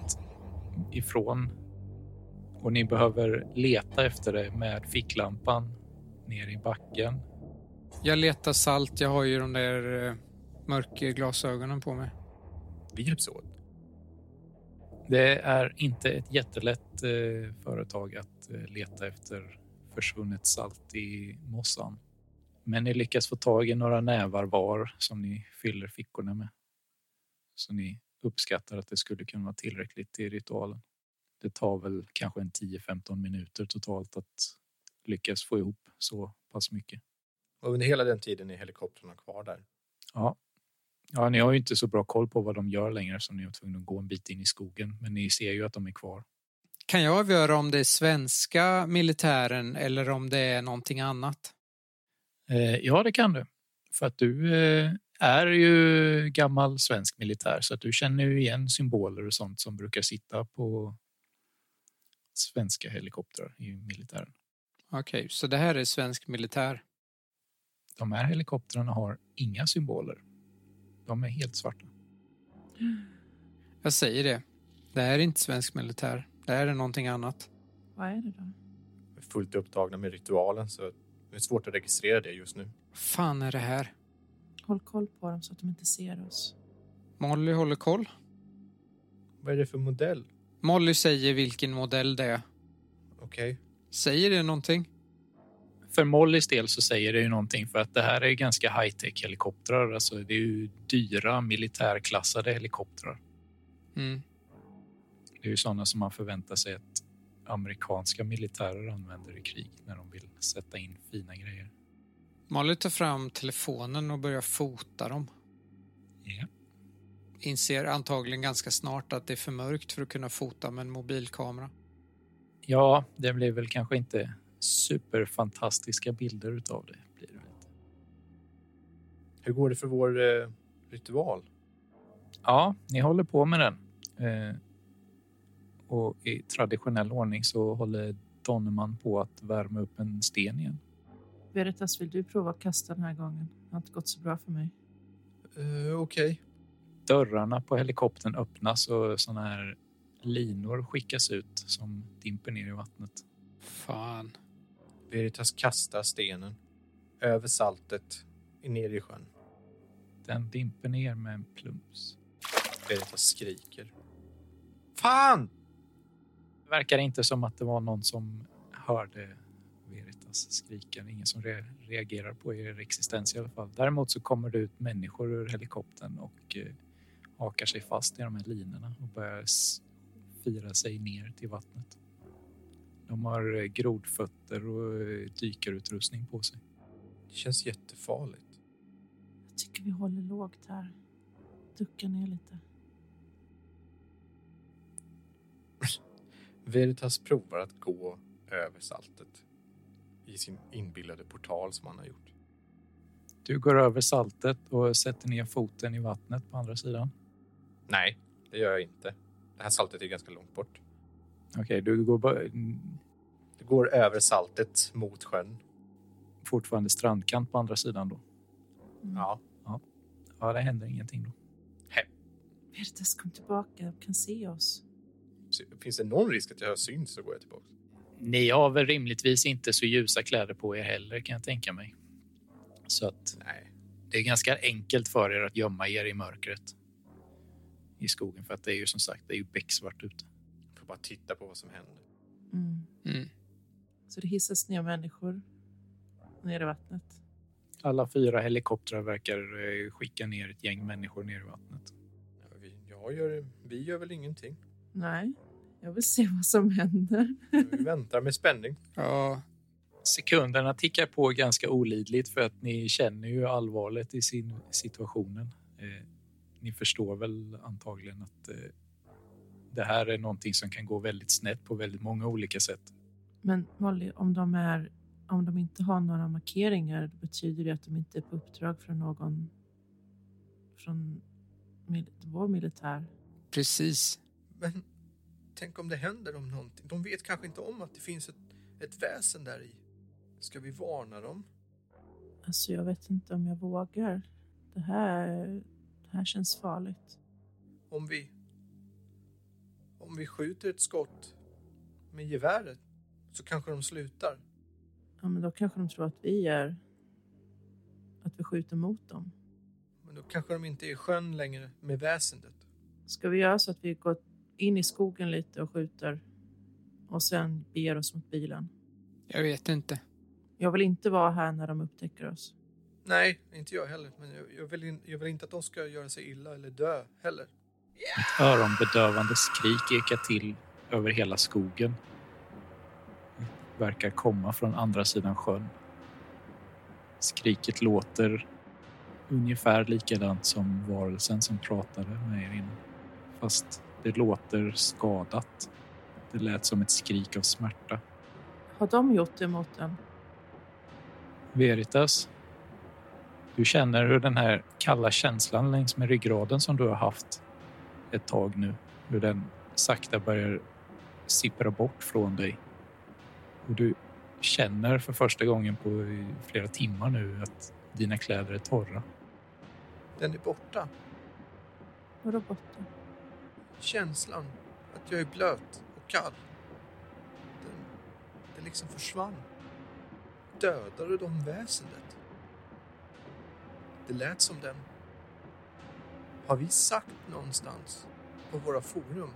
[SPEAKER 3] ifrån. Och ni behöver leta efter det med ficklampan ner i backen.
[SPEAKER 1] Jag letar salt. Jag har ju de där eh, mörkglasögonen på mig.
[SPEAKER 5] Vi hjälps åt.
[SPEAKER 3] Det är inte ett jättelätt eh, företag att eh, leta efter försvunnet salt i mossan. Men ni lyckas få tag i några nävar var som ni fyller fickorna med. Så ni uppskattar att det skulle kunna vara tillräckligt till ritualen. Det tar väl kanske en 10-15 minuter totalt att lyckas få ihop så pass mycket.
[SPEAKER 5] Och under hela den tiden är helikoptrarna kvar där.
[SPEAKER 3] Ja, ni har ju inte så bra koll på vad de gör längre som ni är tvungna att gå en bit in i skogen. Men ni ser ju att de är kvar.
[SPEAKER 1] Kan jag avgöra om det är svenska militären eller om det är någonting annat?
[SPEAKER 3] Eh, ja, det kan du. För att du eh, är ju gammal svensk militär så att du känner ju igen symboler och sånt som brukar sitta på svenska helikoptrar i militären.
[SPEAKER 1] Okej, så det här är svensk militär.
[SPEAKER 3] De här helikoptrarna har inga symboler. De är helt svarta.
[SPEAKER 1] Jag säger det. Det här är inte svensk militär. Det här är någonting annat.
[SPEAKER 4] Vad är det då?
[SPEAKER 5] Vi är fullt upptagna med ritualen så det är svårt att registrera det just nu.
[SPEAKER 1] fan är det här?
[SPEAKER 4] Håll koll på dem så att de inte ser oss.
[SPEAKER 1] Molly håller koll.
[SPEAKER 2] Vad är det för modell?
[SPEAKER 1] Molly säger vilken modell det är.
[SPEAKER 2] Okej.
[SPEAKER 1] Säger det någonting?
[SPEAKER 3] För Mollys del så säger det ju någonting för att det här är ju ganska high-tech helikoptrar. Alltså det är ju dyra militärklassade helikoptrar.
[SPEAKER 1] Mm.
[SPEAKER 3] Det är ju sådana som man förväntar sig att amerikanska militärer använder i krig när de vill sätta in fina grejer.
[SPEAKER 1] Molly tar fram telefonen och börjar fota dem.
[SPEAKER 3] Ja.
[SPEAKER 1] Inser antagligen ganska snart att det är för mörkt för att kunna fota med en mobilkamera.
[SPEAKER 3] Ja, det blir väl kanske inte superfantastiska bilder utav det. Blir det. väl inte.
[SPEAKER 2] Hur går det för vår eh, ritual?
[SPEAKER 3] Ja, ni håller på med den. Eh, och i traditionell ordning så håller Donnerman på att värma upp en sten igen.
[SPEAKER 4] Veritas, vill du prova att kasta den här gången? Det har inte gått så bra för mig.
[SPEAKER 2] Eh, Okej.
[SPEAKER 3] Dörrarna på helikoptern öppnas och såna här linor skickas ut som dimper ner i vattnet.
[SPEAKER 1] Fan.
[SPEAKER 2] Veritas kastar stenen över saltet ner i sjön.
[SPEAKER 3] Den dimper ner med en plums.
[SPEAKER 2] Veritas skriker. Fan!
[SPEAKER 3] Det verkar inte som att det var någon som hörde Veritas skrika. Ingen som re- reagerar på er existens i alla fall. Däremot så kommer det ut människor ur helikoptern och eh, hakar sig fast i de här linorna och börjar s- fira sig ner till vattnet. De har eh, grodfötter och eh, dykarutrustning på sig.
[SPEAKER 2] Det känns jättefarligt.
[SPEAKER 4] Jag tycker vi håller lågt här. Ducka ner lite.
[SPEAKER 2] Veritas provar att gå över saltet i sin inbillade portal som han har gjort.
[SPEAKER 3] Du går över saltet och sätter ner foten i vattnet på andra sidan.
[SPEAKER 2] Nej, det gör jag inte. Det här saltet är ganska långt bort.
[SPEAKER 3] Okej, du går bara, mm,
[SPEAKER 2] Det går över saltet mot sjön.
[SPEAKER 3] fortfarande strandkant på andra sidan då.
[SPEAKER 4] Mm.
[SPEAKER 2] Ja.
[SPEAKER 3] Ja, det händer ingenting då.
[SPEAKER 4] Veritas, kom tillbaka. De kan se oss.
[SPEAKER 2] Så Finns det någon risk att jag syns så går jag tillbaka.
[SPEAKER 3] Ni har väl rimligtvis inte så ljusa kläder på er heller kan jag tänka mig. Så att
[SPEAKER 2] Nej.
[SPEAKER 3] det är ganska enkelt för er att gömma er i mörkret. I skogen för att det är ju som sagt, det är ju becksvart ute.
[SPEAKER 2] Jag får bara titta på vad som händer.
[SPEAKER 4] Mm.
[SPEAKER 1] Mm.
[SPEAKER 4] Så det hissas ner människor ner i vattnet.
[SPEAKER 3] Alla fyra helikoptrar verkar eh, skicka ner ett gäng människor ner i vattnet.
[SPEAKER 2] Ja, vi, jag gör, vi gör väl ingenting.
[SPEAKER 4] Nej, jag vill se vad som händer.
[SPEAKER 2] Vi väntar med spänning.
[SPEAKER 1] Ja,
[SPEAKER 3] Sekunderna tickar på ganska olidligt för att ni känner ju allvaret i sin situationen. Eh, ni förstår väl antagligen att eh, det här är någonting som kan gå väldigt snett på väldigt många olika sätt.
[SPEAKER 4] Men Molly, om de, är, om de inte har några markeringar då betyder det att de inte är på uppdrag från någon från mil- vår militär.
[SPEAKER 1] precis.
[SPEAKER 2] Men tänk om det händer om någonting. De vet kanske inte om att det finns ett, ett väsen där i. Ska vi varna dem?
[SPEAKER 4] Alltså jag vet inte om jag vågar. Det här, det här känns farligt.
[SPEAKER 2] Om vi... Om vi skjuter ett skott med geväret så kanske de slutar.
[SPEAKER 4] Ja, men då kanske de tror att vi är... Att vi skjuter mot dem.
[SPEAKER 2] Men då kanske de inte är i sjön längre med väsendet.
[SPEAKER 4] Ska vi göra så att vi går in i skogen lite och skjuter och sen beger oss mot bilen?
[SPEAKER 1] Jag vet inte.
[SPEAKER 4] Jag vill inte vara här när de upptäcker oss.
[SPEAKER 2] Nej, inte jag heller. Men jag, jag, vill, in, jag vill inte att de ska göra sig illa eller dö heller.
[SPEAKER 3] Ett öronbedövande skrik ekar till över hela skogen. Det verkar komma från andra sidan sjön. Skriket låter ungefär likadant som varelsen som pratade med er innan. Fast det låter skadat. Det lät som ett skrik av smärta.
[SPEAKER 4] Har de gjort det mot en?
[SPEAKER 3] Veritas. Du känner hur den här kalla känslan längs med ryggraden som du har haft ett tag nu, hur den sakta börjar sippra bort från dig. Och du känner för första gången på flera timmar nu att dina kläder är torra.
[SPEAKER 2] Den är borta.
[SPEAKER 4] Vadå botten?
[SPEAKER 2] Känslan att jag är blöt och kall. Den, den liksom försvann. Dödade de väsendet? Det lät som den. Har vi sagt någonstans på våra forum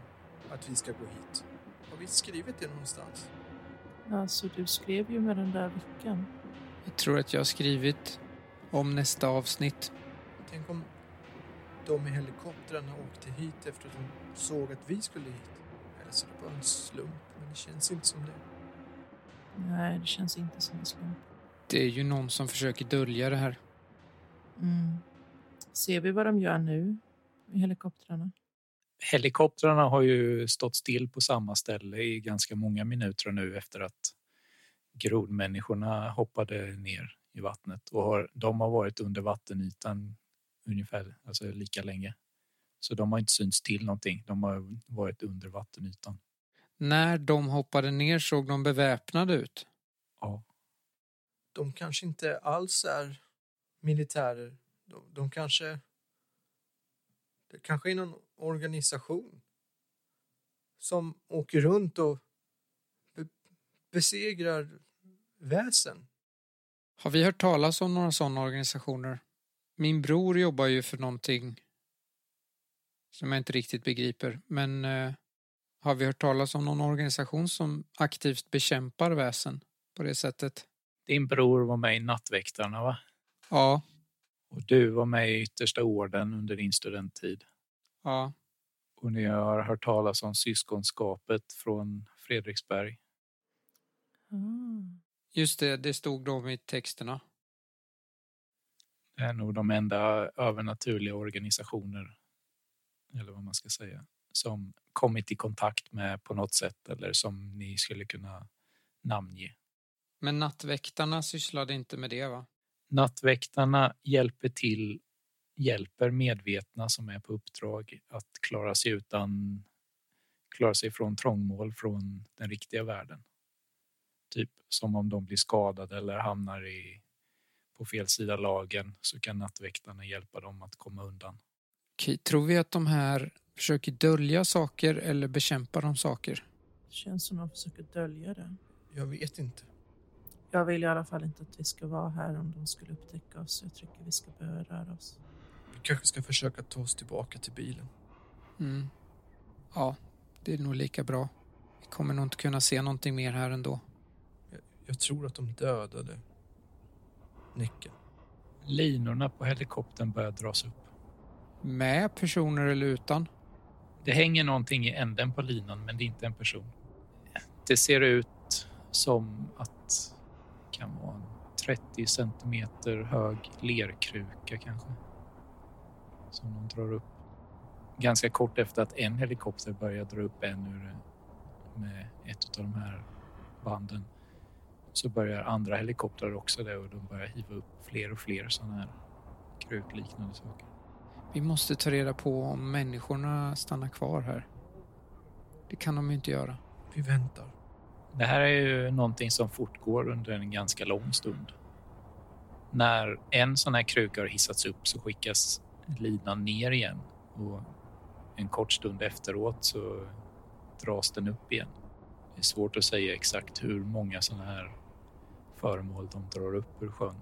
[SPEAKER 2] att vi ska gå hit? Har vi skrivit det någonstans?
[SPEAKER 4] Alltså, du skrev ju med den där veckan.
[SPEAKER 1] Jag tror att jag har skrivit om nästa avsnitt.
[SPEAKER 2] Tänk om de i helikoptrarna åkte hit efter att de såg att vi skulle hit. Eller så är det bara en slump, men det känns inte som det.
[SPEAKER 4] Nej, det känns inte som en slump.
[SPEAKER 1] Det är ju någon som försöker dölja det här.
[SPEAKER 4] Mm. Ser vi vad de gör nu i helikoptrarna?
[SPEAKER 3] Helikoptrarna har ju stått still på samma ställe i ganska många minuter nu efter att grodmänniskorna hoppade ner i vattnet och har, de har varit under vattenytan ungefär alltså lika länge. Så de har inte synts till någonting. De har varit under vattenytan.
[SPEAKER 1] När de hoppade ner såg de beväpnade ut.
[SPEAKER 3] Ja.
[SPEAKER 2] De kanske inte alls är militärer. De, de kanske... Det kanske är någon organisation som åker runt och be, besegrar väsen.
[SPEAKER 1] Har vi hört talas om några sådana organisationer? Min bror jobbar ju för någonting som jag inte riktigt begriper. Men eh, har vi hört talas om någon organisation som aktivt bekämpar väsen på det sättet?
[SPEAKER 3] Din bror var med i Nattväktarna, va?
[SPEAKER 1] Ja,
[SPEAKER 3] Och du var med i Yttersta Orden under din studenttid.
[SPEAKER 1] ja.
[SPEAKER 3] Och ni har hört talas om syskonskapet från Fredriksberg.
[SPEAKER 4] Ah.
[SPEAKER 1] Just det, det stod de i texterna.
[SPEAKER 3] Det är nog de enda övernaturliga organisationer, eller vad man ska säga, som kommit i kontakt med på något sätt eller som ni skulle kunna namnge.
[SPEAKER 1] Men nattväktarna sysslade inte med det va?
[SPEAKER 3] Nattväktarna hjälper till, hjälper medvetna som är på uppdrag att klara sig utan, klara sig från trångmål från den riktiga världen. Typ som om de blir skadade eller hamnar i, på fel sida lagen så kan nattväktarna hjälpa dem att komma undan.
[SPEAKER 1] Okej, tror vi att de här försöker dölja saker eller bekämpa de saker?
[SPEAKER 4] Det känns som de försöker dölja det.
[SPEAKER 2] Jag vet inte.
[SPEAKER 4] Jag vill i alla fall inte att vi ska vara här om de skulle upptäcka oss. Jag tycker vi ska börja röra oss.
[SPEAKER 2] Vi kanske ska försöka ta oss tillbaka till bilen.
[SPEAKER 1] Mm. Ja, det är nog lika bra. Vi kommer nog inte kunna se någonting mer här ändå.
[SPEAKER 2] Jag tror att de dödade Näcken.
[SPEAKER 3] Linorna på helikoptern börjar dras upp.
[SPEAKER 1] Med personer eller utan?
[SPEAKER 3] Det hänger någonting i änden på linan, men det är inte en person. Det ser ut som att det kan vara en 30 centimeter hög lerkruka kanske. Som de drar upp. Ganska kort efter att en helikopter börjar dra upp en ur med ett av de här banden så börjar andra helikoptrar också det och de börjar hiva upp fler och fler sådana här krukliknande saker.
[SPEAKER 1] Vi måste ta reda på om människorna stannar kvar här. Det kan de ju inte göra.
[SPEAKER 2] Vi väntar.
[SPEAKER 3] Det här är ju någonting som fortgår under en ganska lång stund. När en sån här kruka har hissats upp så skickas linan ner igen och en kort stund efteråt så dras den upp igen. Det är svårt att säga exakt hur många såna här föremål de drar upp ur sjön.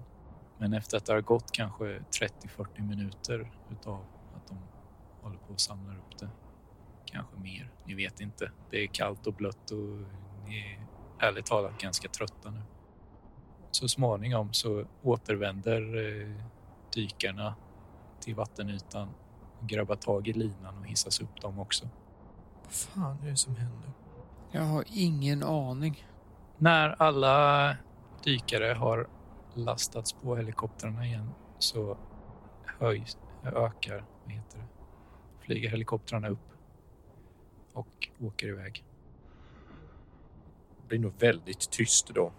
[SPEAKER 3] Men efter att det har gått kanske 30-40 minuter utav att de håller på att samla upp det kanske mer. Ni vet inte. Det är kallt och blött och ni är ärligt talat ganska trötta nu. Så småningom så återvänder eh, dykarna till vattenytan och grabbar tag i linan och hissas upp dem också.
[SPEAKER 2] Vad fan är det som händer?
[SPEAKER 1] Jag har ingen aning.
[SPEAKER 3] När alla dykare har lastats på helikoptrarna igen så höjs, ökar, vad heter det, flyger helikoptrarna upp och åker iväg.
[SPEAKER 5] Det blir nog väldigt tyst då.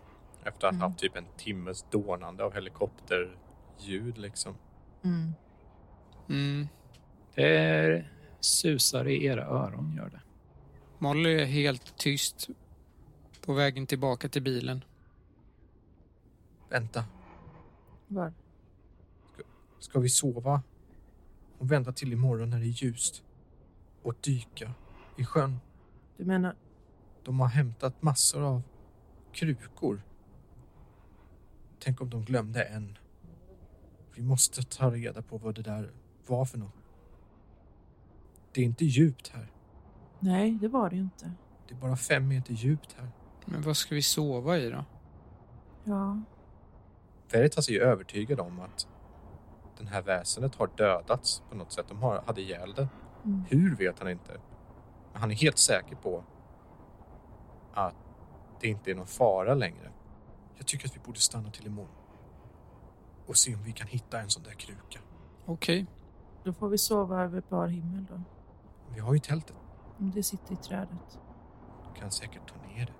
[SPEAKER 5] Efter att
[SPEAKER 4] Mm.
[SPEAKER 5] ha haft typ en timmes dånande av helikopterljud liksom.
[SPEAKER 4] Mm.
[SPEAKER 1] Mm.
[SPEAKER 3] Det susar i era öron, gör det.
[SPEAKER 1] Molly är helt tyst på vägen tillbaka till bilen.
[SPEAKER 2] Vänta.
[SPEAKER 4] Var?
[SPEAKER 2] Ska vi sova? Och vänta till imorgon när det är ljust? Och dyka i sjön?
[SPEAKER 4] Du menar,
[SPEAKER 2] De har hämtat massor av krukor. Tänk om de glömde en. Vi måste ta reda på vad det där var för något. Det är inte djupt här.
[SPEAKER 4] Nej, det var det ju inte.
[SPEAKER 2] Det är bara fem meter djupt här.
[SPEAKER 1] Men vad ska vi sova i då?
[SPEAKER 4] Ja,
[SPEAKER 5] Veritas är ju övertygad om att den här väsendet har dödats på något sätt. De har, hade ihjäl det.
[SPEAKER 4] Mm.
[SPEAKER 5] Hur vet han inte. Men han är helt säker på att det inte är någon fara längre. Jag tycker att vi borde stanna till imorgon och se om vi kan hitta en sån där kruka.
[SPEAKER 1] Okej,
[SPEAKER 4] då får vi sova över bar himmel då.
[SPEAKER 5] Vi har ju tältet.
[SPEAKER 4] Om det sitter i trädet.
[SPEAKER 5] Kan säkert ta ner det.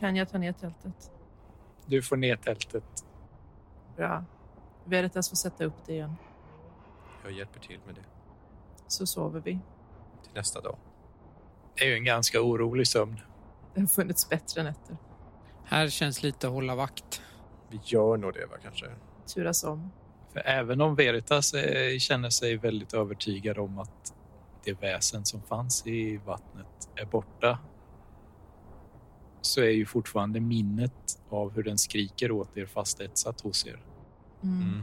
[SPEAKER 4] Kan jag ta ner tältet?
[SPEAKER 3] Du får ner tältet.
[SPEAKER 4] Bra. Veritas får sätta upp det igen.
[SPEAKER 5] Jag hjälper till med det
[SPEAKER 4] Så sover vi.
[SPEAKER 5] till nästa dag.
[SPEAKER 3] Det är ju en ganska orolig sömn.
[SPEAKER 4] Det har funnits bättre nätter.
[SPEAKER 1] här känns lite hålla vakt.
[SPEAKER 5] Vi gör nog det va kanske.
[SPEAKER 4] Turas om.
[SPEAKER 3] För även om Veritas eh, känner sig väldigt övertygad om att det väsen som fanns i vattnet är borta så är ju fortfarande minnet av hur den skriker åt er fastetsat hos er.
[SPEAKER 4] Mm.
[SPEAKER 5] Mm.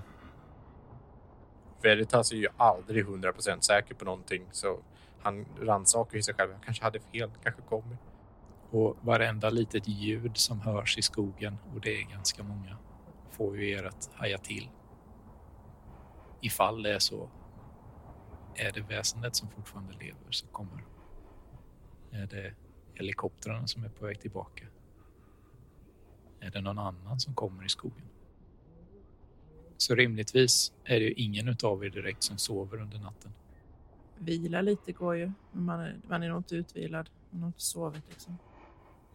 [SPEAKER 5] Veritas är ju aldrig 100% säker på någonting så han rannsakar ju sig själv. Jag kanske hade fel, kanske kommer.
[SPEAKER 3] Och varenda litet ljud som hörs i skogen, och det är ganska många, får ju er att haja till. Ifall det är så, är det väsendet som fortfarande lever så kommer. Är det helikoptrarna som är på väg tillbaka? Är det någon annan som kommer i skogen? Så rimligtvis är det ju ingen utav er direkt som sover under natten.
[SPEAKER 4] Vila lite går ju. Men man är, man är nog inte utvilad. Man har inte sovit liksom.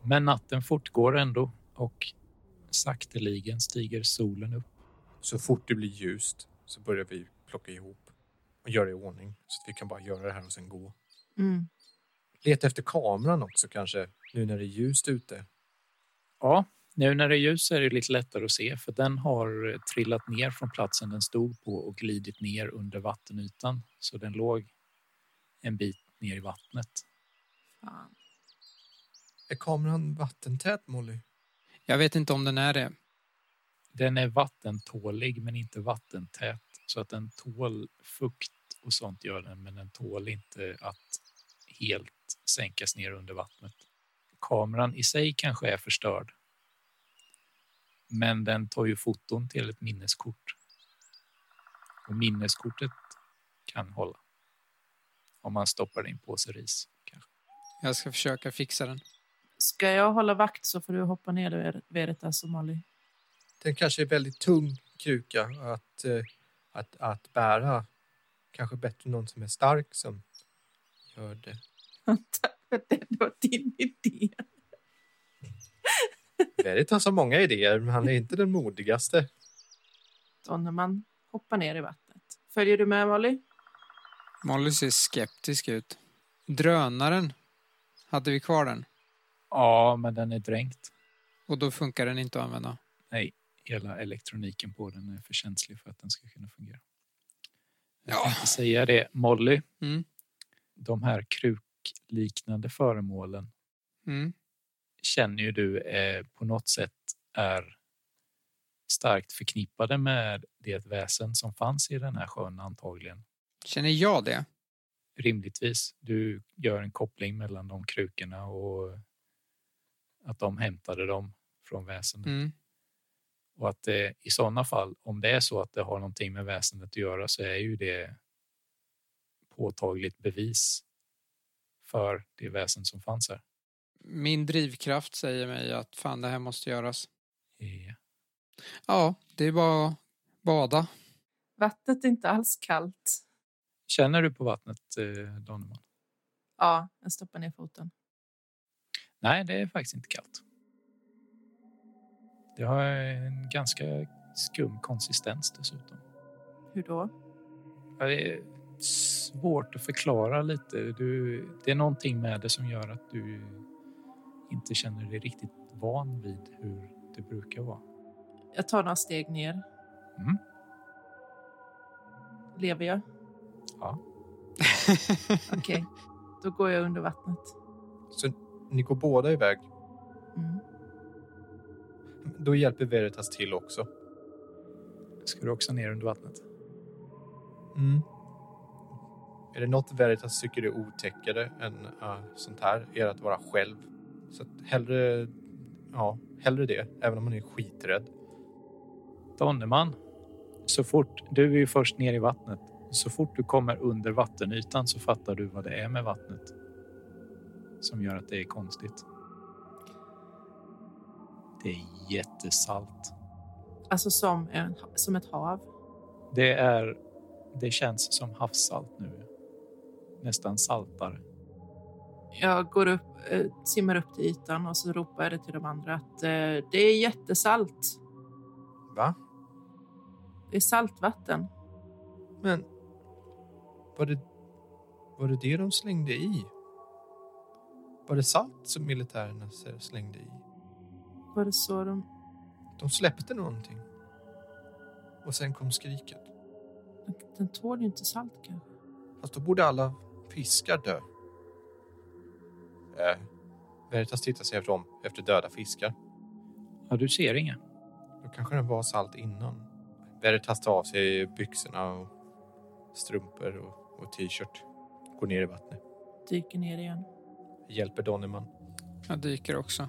[SPEAKER 3] Men natten fortgår ändå och sakteligen stiger solen upp.
[SPEAKER 5] Så fort det blir ljust så börjar vi plocka ihop och göra i ordning så att vi kan bara göra det här och sen gå.
[SPEAKER 4] Mm.
[SPEAKER 5] Leta efter kameran också kanske nu när det är ljust ute.
[SPEAKER 3] Ja, nu när det är ljus är det lite lättare att se för den har eh, trillat ner från platsen den stod på och glidit ner under vattenytan. Så den låg en bit ner i vattnet.
[SPEAKER 4] Fan.
[SPEAKER 2] Är kameran vattentät, Molly?
[SPEAKER 1] Jag vet inte om den är det.
[SPEAKER 3] Den är vattentålig men inte vattentät så att den tål fukt och sånt gör den men den tål inte att helt sänkas ner under vattnet. Kameran i sig kanske är förstörd. Men den tar ju foton till ett minneskort. Och minneskortet kan hålla. Om man stoppar det i en påse ris. Kanske.
[SPEAKER 1] Jag ska försöka fixa den.
[SPEAKER 4] Ska jag hålla vakt så får du hoppa ner Ver- Veritas och Molly.
[SPEAKER 2] Den kanske är väldigt tung kruka att, eh, att, att bära. Kanske bättre än någon som är stark som gör det.
[SPEAKER 4] Tack för det. Det var din idé.
[SPEAKER 5] Veritas har många idéer men han är inte den modigaste.
[SPEAKER 4] Donnerman hoppar ner i vattnet. Följer du med Molly?
[SPEAKER 1] Molly ser skeptisk ut. Drönaren, hade vi kvar den?
[SPEAKER 3] Ja, men den är dränkt.
[SPEAKER 1] Och då funkar den inte att använda.
[SPEAKER 3] Hela elektroniken på den är för känslig för att den ska kunna fungera. Jag
[SPEAKER 1] Ja.
[SPEAKER 3] tänkte säga det. Molly,
[SPEAKER 1] Mm.
[SPEAKER 3] de här krukliknande föremålen
[SPEAKER 1] Mm.
[SPEAKER 3] känner ju du eh, på något sätt är starkt förknippade med det väsen som fanns i den här sjön antagligen.
[SPEAKER 1] Känner jag det?
[SPEAKER 3] Rimligtvis. Du gör en koppling mellan de krukorna och att de hämtade dem från väsendet.
[SPEAKER 1] Mm.
[SPEAKER 3] Och att det, i sådana fall, om det är så att det har någonting med väsendet att göra så är ju det påtagligt bevis för det väsen som fanns här.
[SPEAKER 1] Min drivkraft säger mig att fan det här måste göras.
[SPEAKER 3] Eh,
[SPEAKER 1] Ja, det är bara att bada.
[SPEAKER 4] Vattnet är inte alls kallt.
[SPEAKER 3] Känner du på vattnet, eh, Donnerman?
[SPEAKER 4] Ja, jag stoppar ner foten.
[SPEAKER 3] Nej, det är faktiskt inte kallt. Det har en ganska skum konsistens dessutom.
[SPEAKER 4] Hur då?
[SPEAKER 3] Ja, Det är svårt att förklara lite. Du, det är någonting med det som gör att du inte känner dig riktigt van vid hur det brukar vara.
[SPEAKER 4] Jag tar några steg ner.
[SPEAKER 3] Mm.
[SPEAKER 4] Lever jag?
[SPEAKER 3] Ja.
[SPEAKER 4] Okej, då går jag under vattnet.
[SPEAKER 5] Så ni går båda iväg.
[SPEAKER 4] Mm.
[SPEAKER 5] Då hjälper Veritas till också.
[SPEAKER 2] Mm.
[SPEAKER 3] Ska du också ner under vattnet?
[SPEAKER 2] Är det något Veritas tycker är otäckare än äh, sånt här är det att vara själv. Så att hellre, ja, hellre det, även om man är skiträdd.
[SPEAKER 3] Donnerman, så fort, du är ju först ner i vattnet. Så fort du kommer under vattenytan så fattar du vad det är med vattnet som gör att det är konstigt. Det är jättesalt.
[SPEAKER 4] Alltså som, en, som ett hav.
[SPEAKER 3] Det är, det känns som havssalt nu. Nästan saltare.
[SPEAKER 4] Jag går upp, eh, simmar upp till ytan och så ropar jag det till de andra att eh, det är jättesalt.
[SPEAKER 2] Va?
[SPEAKER 4] Det är saltvatten.
[SPEAKER 7] Men
[SPEAKER 2] Var det, var det det de slängde i? Var det salt som militärerna slängde i?
[SPEAKER 4] Var det så de...
[SPEAKER 2] De släppte någonting. Och sen kom skriket.
[SPEAKER 4] Den tål ju inte salt kanske.
[SPEAKER 2] Fast då borde alla fiskar dö. Eh, Veritas tittar sig efter om efter döda fiskar.
[SPEAKER 3] Ja, du ser inga.
[SPEAKER 2] Då kanske den var salt innan. Veritas tar av sig byxorna och strumpor och, och t-shirt. Går ner i vattnet.
[SPEAKER 4] Dyker ner igen.
[SPEAKER 2] Hjälper Donnerman.
[SPEAKER 1] Jag dyker också.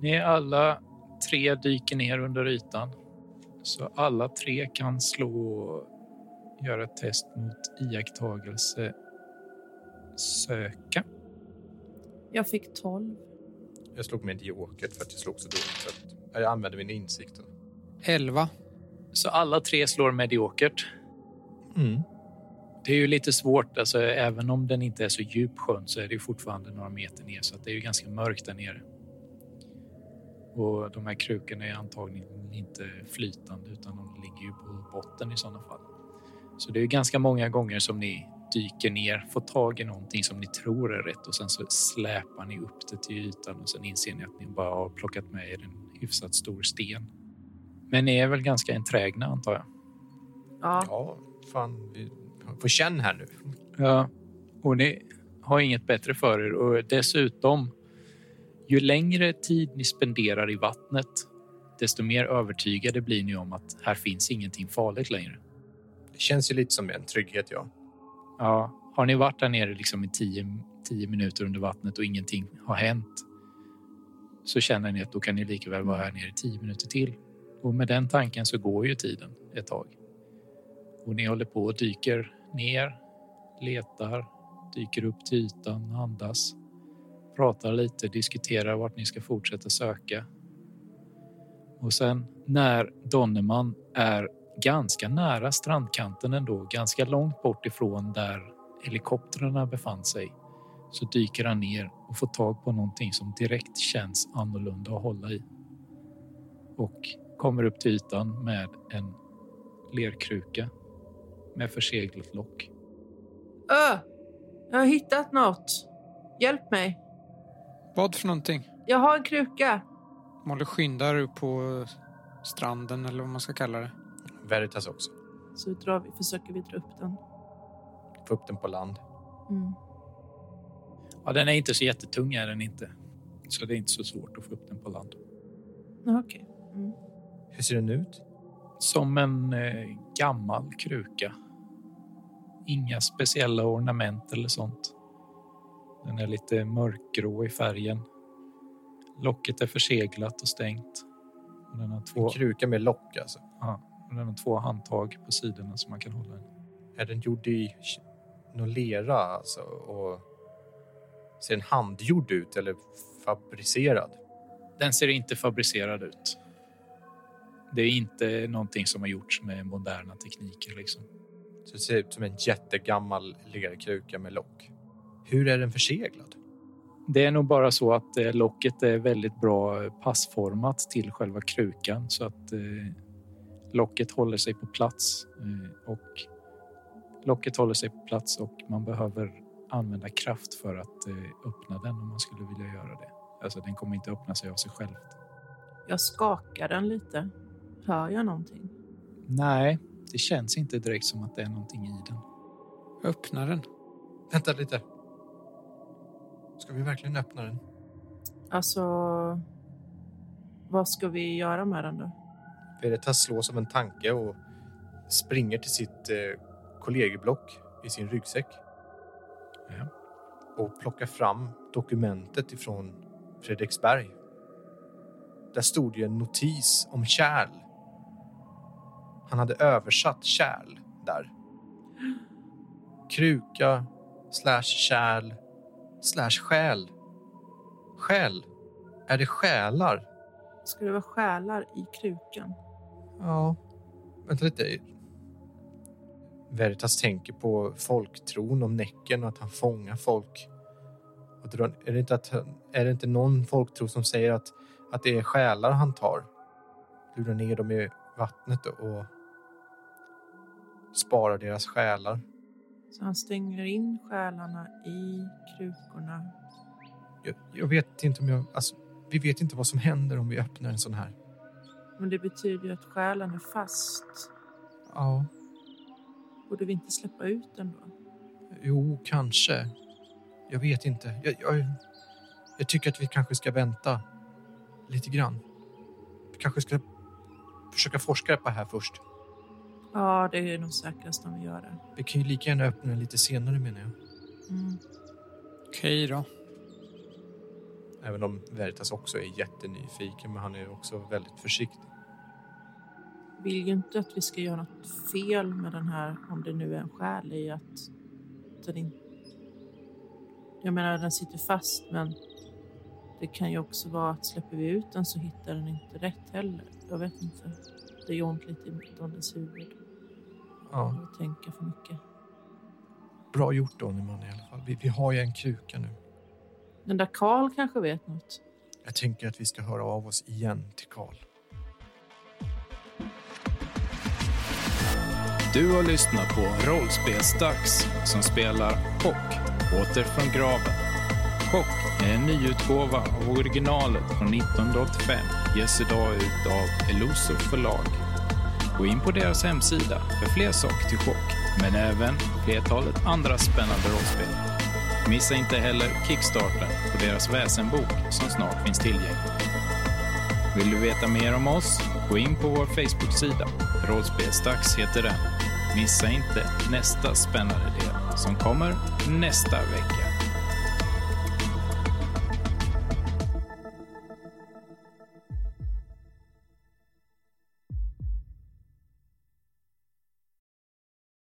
[SPEAKER 3] Ni alla tre dyker ner under ytan. Så alla tre kan slå... Göra ett test mot iakttagelse. Söka.
[SPEAKER 4] Jag fick 12.
[SPEAKER 2] Jag slog med diåket för att jag slog så dåligt. Så att jag använde min insikt.
[SPEAKER 1] Elva.
[SPEAKER 3] Så alla tre slår mediokert.
[SPEAKER 2] Mm.
[SPEAKER 3] Det är ju lite svårt, alltså, även om den inte är så djup sjön så är det ju fortfarande några meter ner så att det är ju ganska mörkt där nere. Och de här krukorna är antagligen inte flytande utan de ligger ju på botten i sådana fall. Så det är ju ganska många gånger som ni dyker ner, får tag i någonting som ni tror är rätt och sen så släpar ni upp det till ytan och sen inser ni att ni bara har plockat med er en hyfsat stor sten. Men ni är väl ganska enträgna antar jag?
[SPEAKER 4] Ja,
[SPEAKER 2] Ja, fan. Vi får känn här nu.
[SPEAKER 3] Ja, och ni har inget bättre för er. Och dessutom, ju längre tid ni spenderar i vattnet, desto mer övertygade blir ni om att här finns ingenting farligt längre.
[SPEAKER 2] Det känns ju lite som en trygghet, ja.
[SPEAKER 3] Ja, har ni varit där nere liksom i tio, tio minuter under vattnet och ingenting har hänt så känner ni att då kan ni lika väl vara här nere i tio minuter till. Och med den tanken så går ju tiden ett tag. Och ni håller på och dyker ner, letar, dyker upp till ytan, andas, pratar lite, diskuterar vart ni ska fortsätta söka. Och sen när Donnerman är ganska nära strandkanten ändå, ganska långt bort ifrån där helikoptrarna befann sig, så dyker han ner och får tag på någonting som direkt känns annorlunda att hålla i. Och kommer upp till ytan med en lerkruka med förseglat lock.
[SPEAKER 4] Ö! Jag har hittat något. Hjälp mig.
[SPEAKER 1] Vad för någonting?
[SPEAKER 4] Jag har en kruka.
[SPEAKER 1] Molly skyndar upp på stranden eller vad man ska kalla det.
[SPEAKER 2] Veritas också.
[SPEAKER 4] Så drar vi, försöker vi dra upp den.
[SPEAKER 2] Få upp den på land.
[SPEAKER 4] Mm.
[SPEAKER 3] Ja, den är inte så jättetung är den inte. Så det är inte så svårt att få upp den på land.
[SPEAKER 4] Ja, Okej.
[SPEAKER 2] Hur ser den ut?
[SPEAKER 3] Som en eh, gammal kruka. Inga speciella ornament eller sånt. Den är lite mörkgrå i färgen. Locket är förseglat och stängt. Och den, har två,
[SPEAKER 2] En kruka med lock, alltså.
[SPEAKER 3] och den har två handtag på sidorna som man kan hålla i.
[SPEAKER 2] Är den gjord i k- någon lera, alltså? Och ser den handgjord ut eller fabricerad?
[SPEAKER 3] Den ser inte fabricerad ut. Det är inte någonting som har gjorts med moderna tekniker. Liksom.
[SPEAKER 2] Så det ser ut som en jättegammal lerkruka med lock. Hur är den förseglad?
[SPEAKER 3] Det är nog bara så att eh, locket är väldigt bra passformat till själva krukan så att eh, locket håller sig på plats eh, och locket håller sig på plats och man behöver använda kraft för att eh, öppna den om man skulle vilja göra det. Alltså den kommer inte öppna sig av sig själv.
[SPEAKER 4] Jag skakar den lite. Hör jag någonting?
[SPEAKER 3] Nej, det känns inte direkt som att det är någonting i den.
[SPEAKER 1] Öppna den.
[SPEAKER 2] Vänta lite. Ska vi verkligen öppna den?
[SPEAKER 4] Alltså, vad ska vi göra med den då?
[SPEAKER 2] Veritas slås av en tanke och springer till sitt eh, kollegieblock i sin ryggsäck.
[SPEAKER 8] Ja.
[SPEAKER 2] och plocka fram dokumentet ifrån Fredriksberg. Där stod ju en notis om kärl. Han hade översatt kärl där. Kruka slash kärl slash själ. Själ? Är det själar?
[SPEAKER 4] Ska det vara själar i krukan?
[SPEAKER 2] Ja. Vänta lite. Veritas tänker på folktron om Näcken och att han fångar folk. Och drar- är, det inte att, han- är det inte någon folktro som säger att, att det är själar han tar? Lurar ner dem i vattnet och sparar deras själar.
[SPEAKER 4] Så han stänger in själarna i krukorna.
[SPEAKER 2] Jag, jag vet inte om jag... Alltså, vi vet inte vad som händer om vi öppnar en sån här.
[SPEAKER 4] Men det betyder ju att själen är fast.
[SPEAKER 2] Ja,
[SPEAKER 4] Borde vi inte släppa ut den då?
[SPEAKER 2] jo, kanske. Jag vet inte. Jag, jag, jag tycker att vi kanske ska vänta lite grann. Vi kanske ska försöka forska på det här först.
[SPEAKER 4] Ja, det är nog säkrast om vi gör det.
[SPEAKER 2] Vi kan ju lika gärna öppna den lite senare menar jag.
[SPEAKER 4] Mm.
[SPEAKER 1] Okej då.
[SPEAKER 2] Även om Veritas också är jättenyfiken, men han är också väldigt försiktig.
[SPEAKER 4] Vill ju inte att vi ska göra något fel med den här, om det nu är en själ i att den inte... Jag menar, den sitter fast, men det kan ju också vara att släpper vi ut den så hittar den inte rätt heller. Jag vet inte. Det gör ont lite i donnens huvud.
[SPEAKER 2] Ja,
[SPEAKER 4] Jag tänker för mycket.
[SPEAKER 2] bra gjort Donnyman i alla fall. Vi, vi har ju en kruka nu.
[SPEAKER 4] Den där Karl kanske vet något.
[SPEAKER 2] Jag tänker att vi ska höra av oss igen till Karl.
[SPEAKER 3] Du har lyssnat på Rollspelsdags som spelar Chock, åter från graven. Chock är en nyutgåva av originalet från 1985. Ges idag ut av Eloso förlag. Gå in på deras hemsida för fler saker till Chock, men även flertalet andra spännande rollspel. Missa inte heller Kickstarten på deras väsenbok som snart finns tillgänglig. Vill du veta mer om oss? Gå in på vår Facebook-sida. Rollspelsdags heter den. Missa inte nästa spännande del som kommer nästa vecka.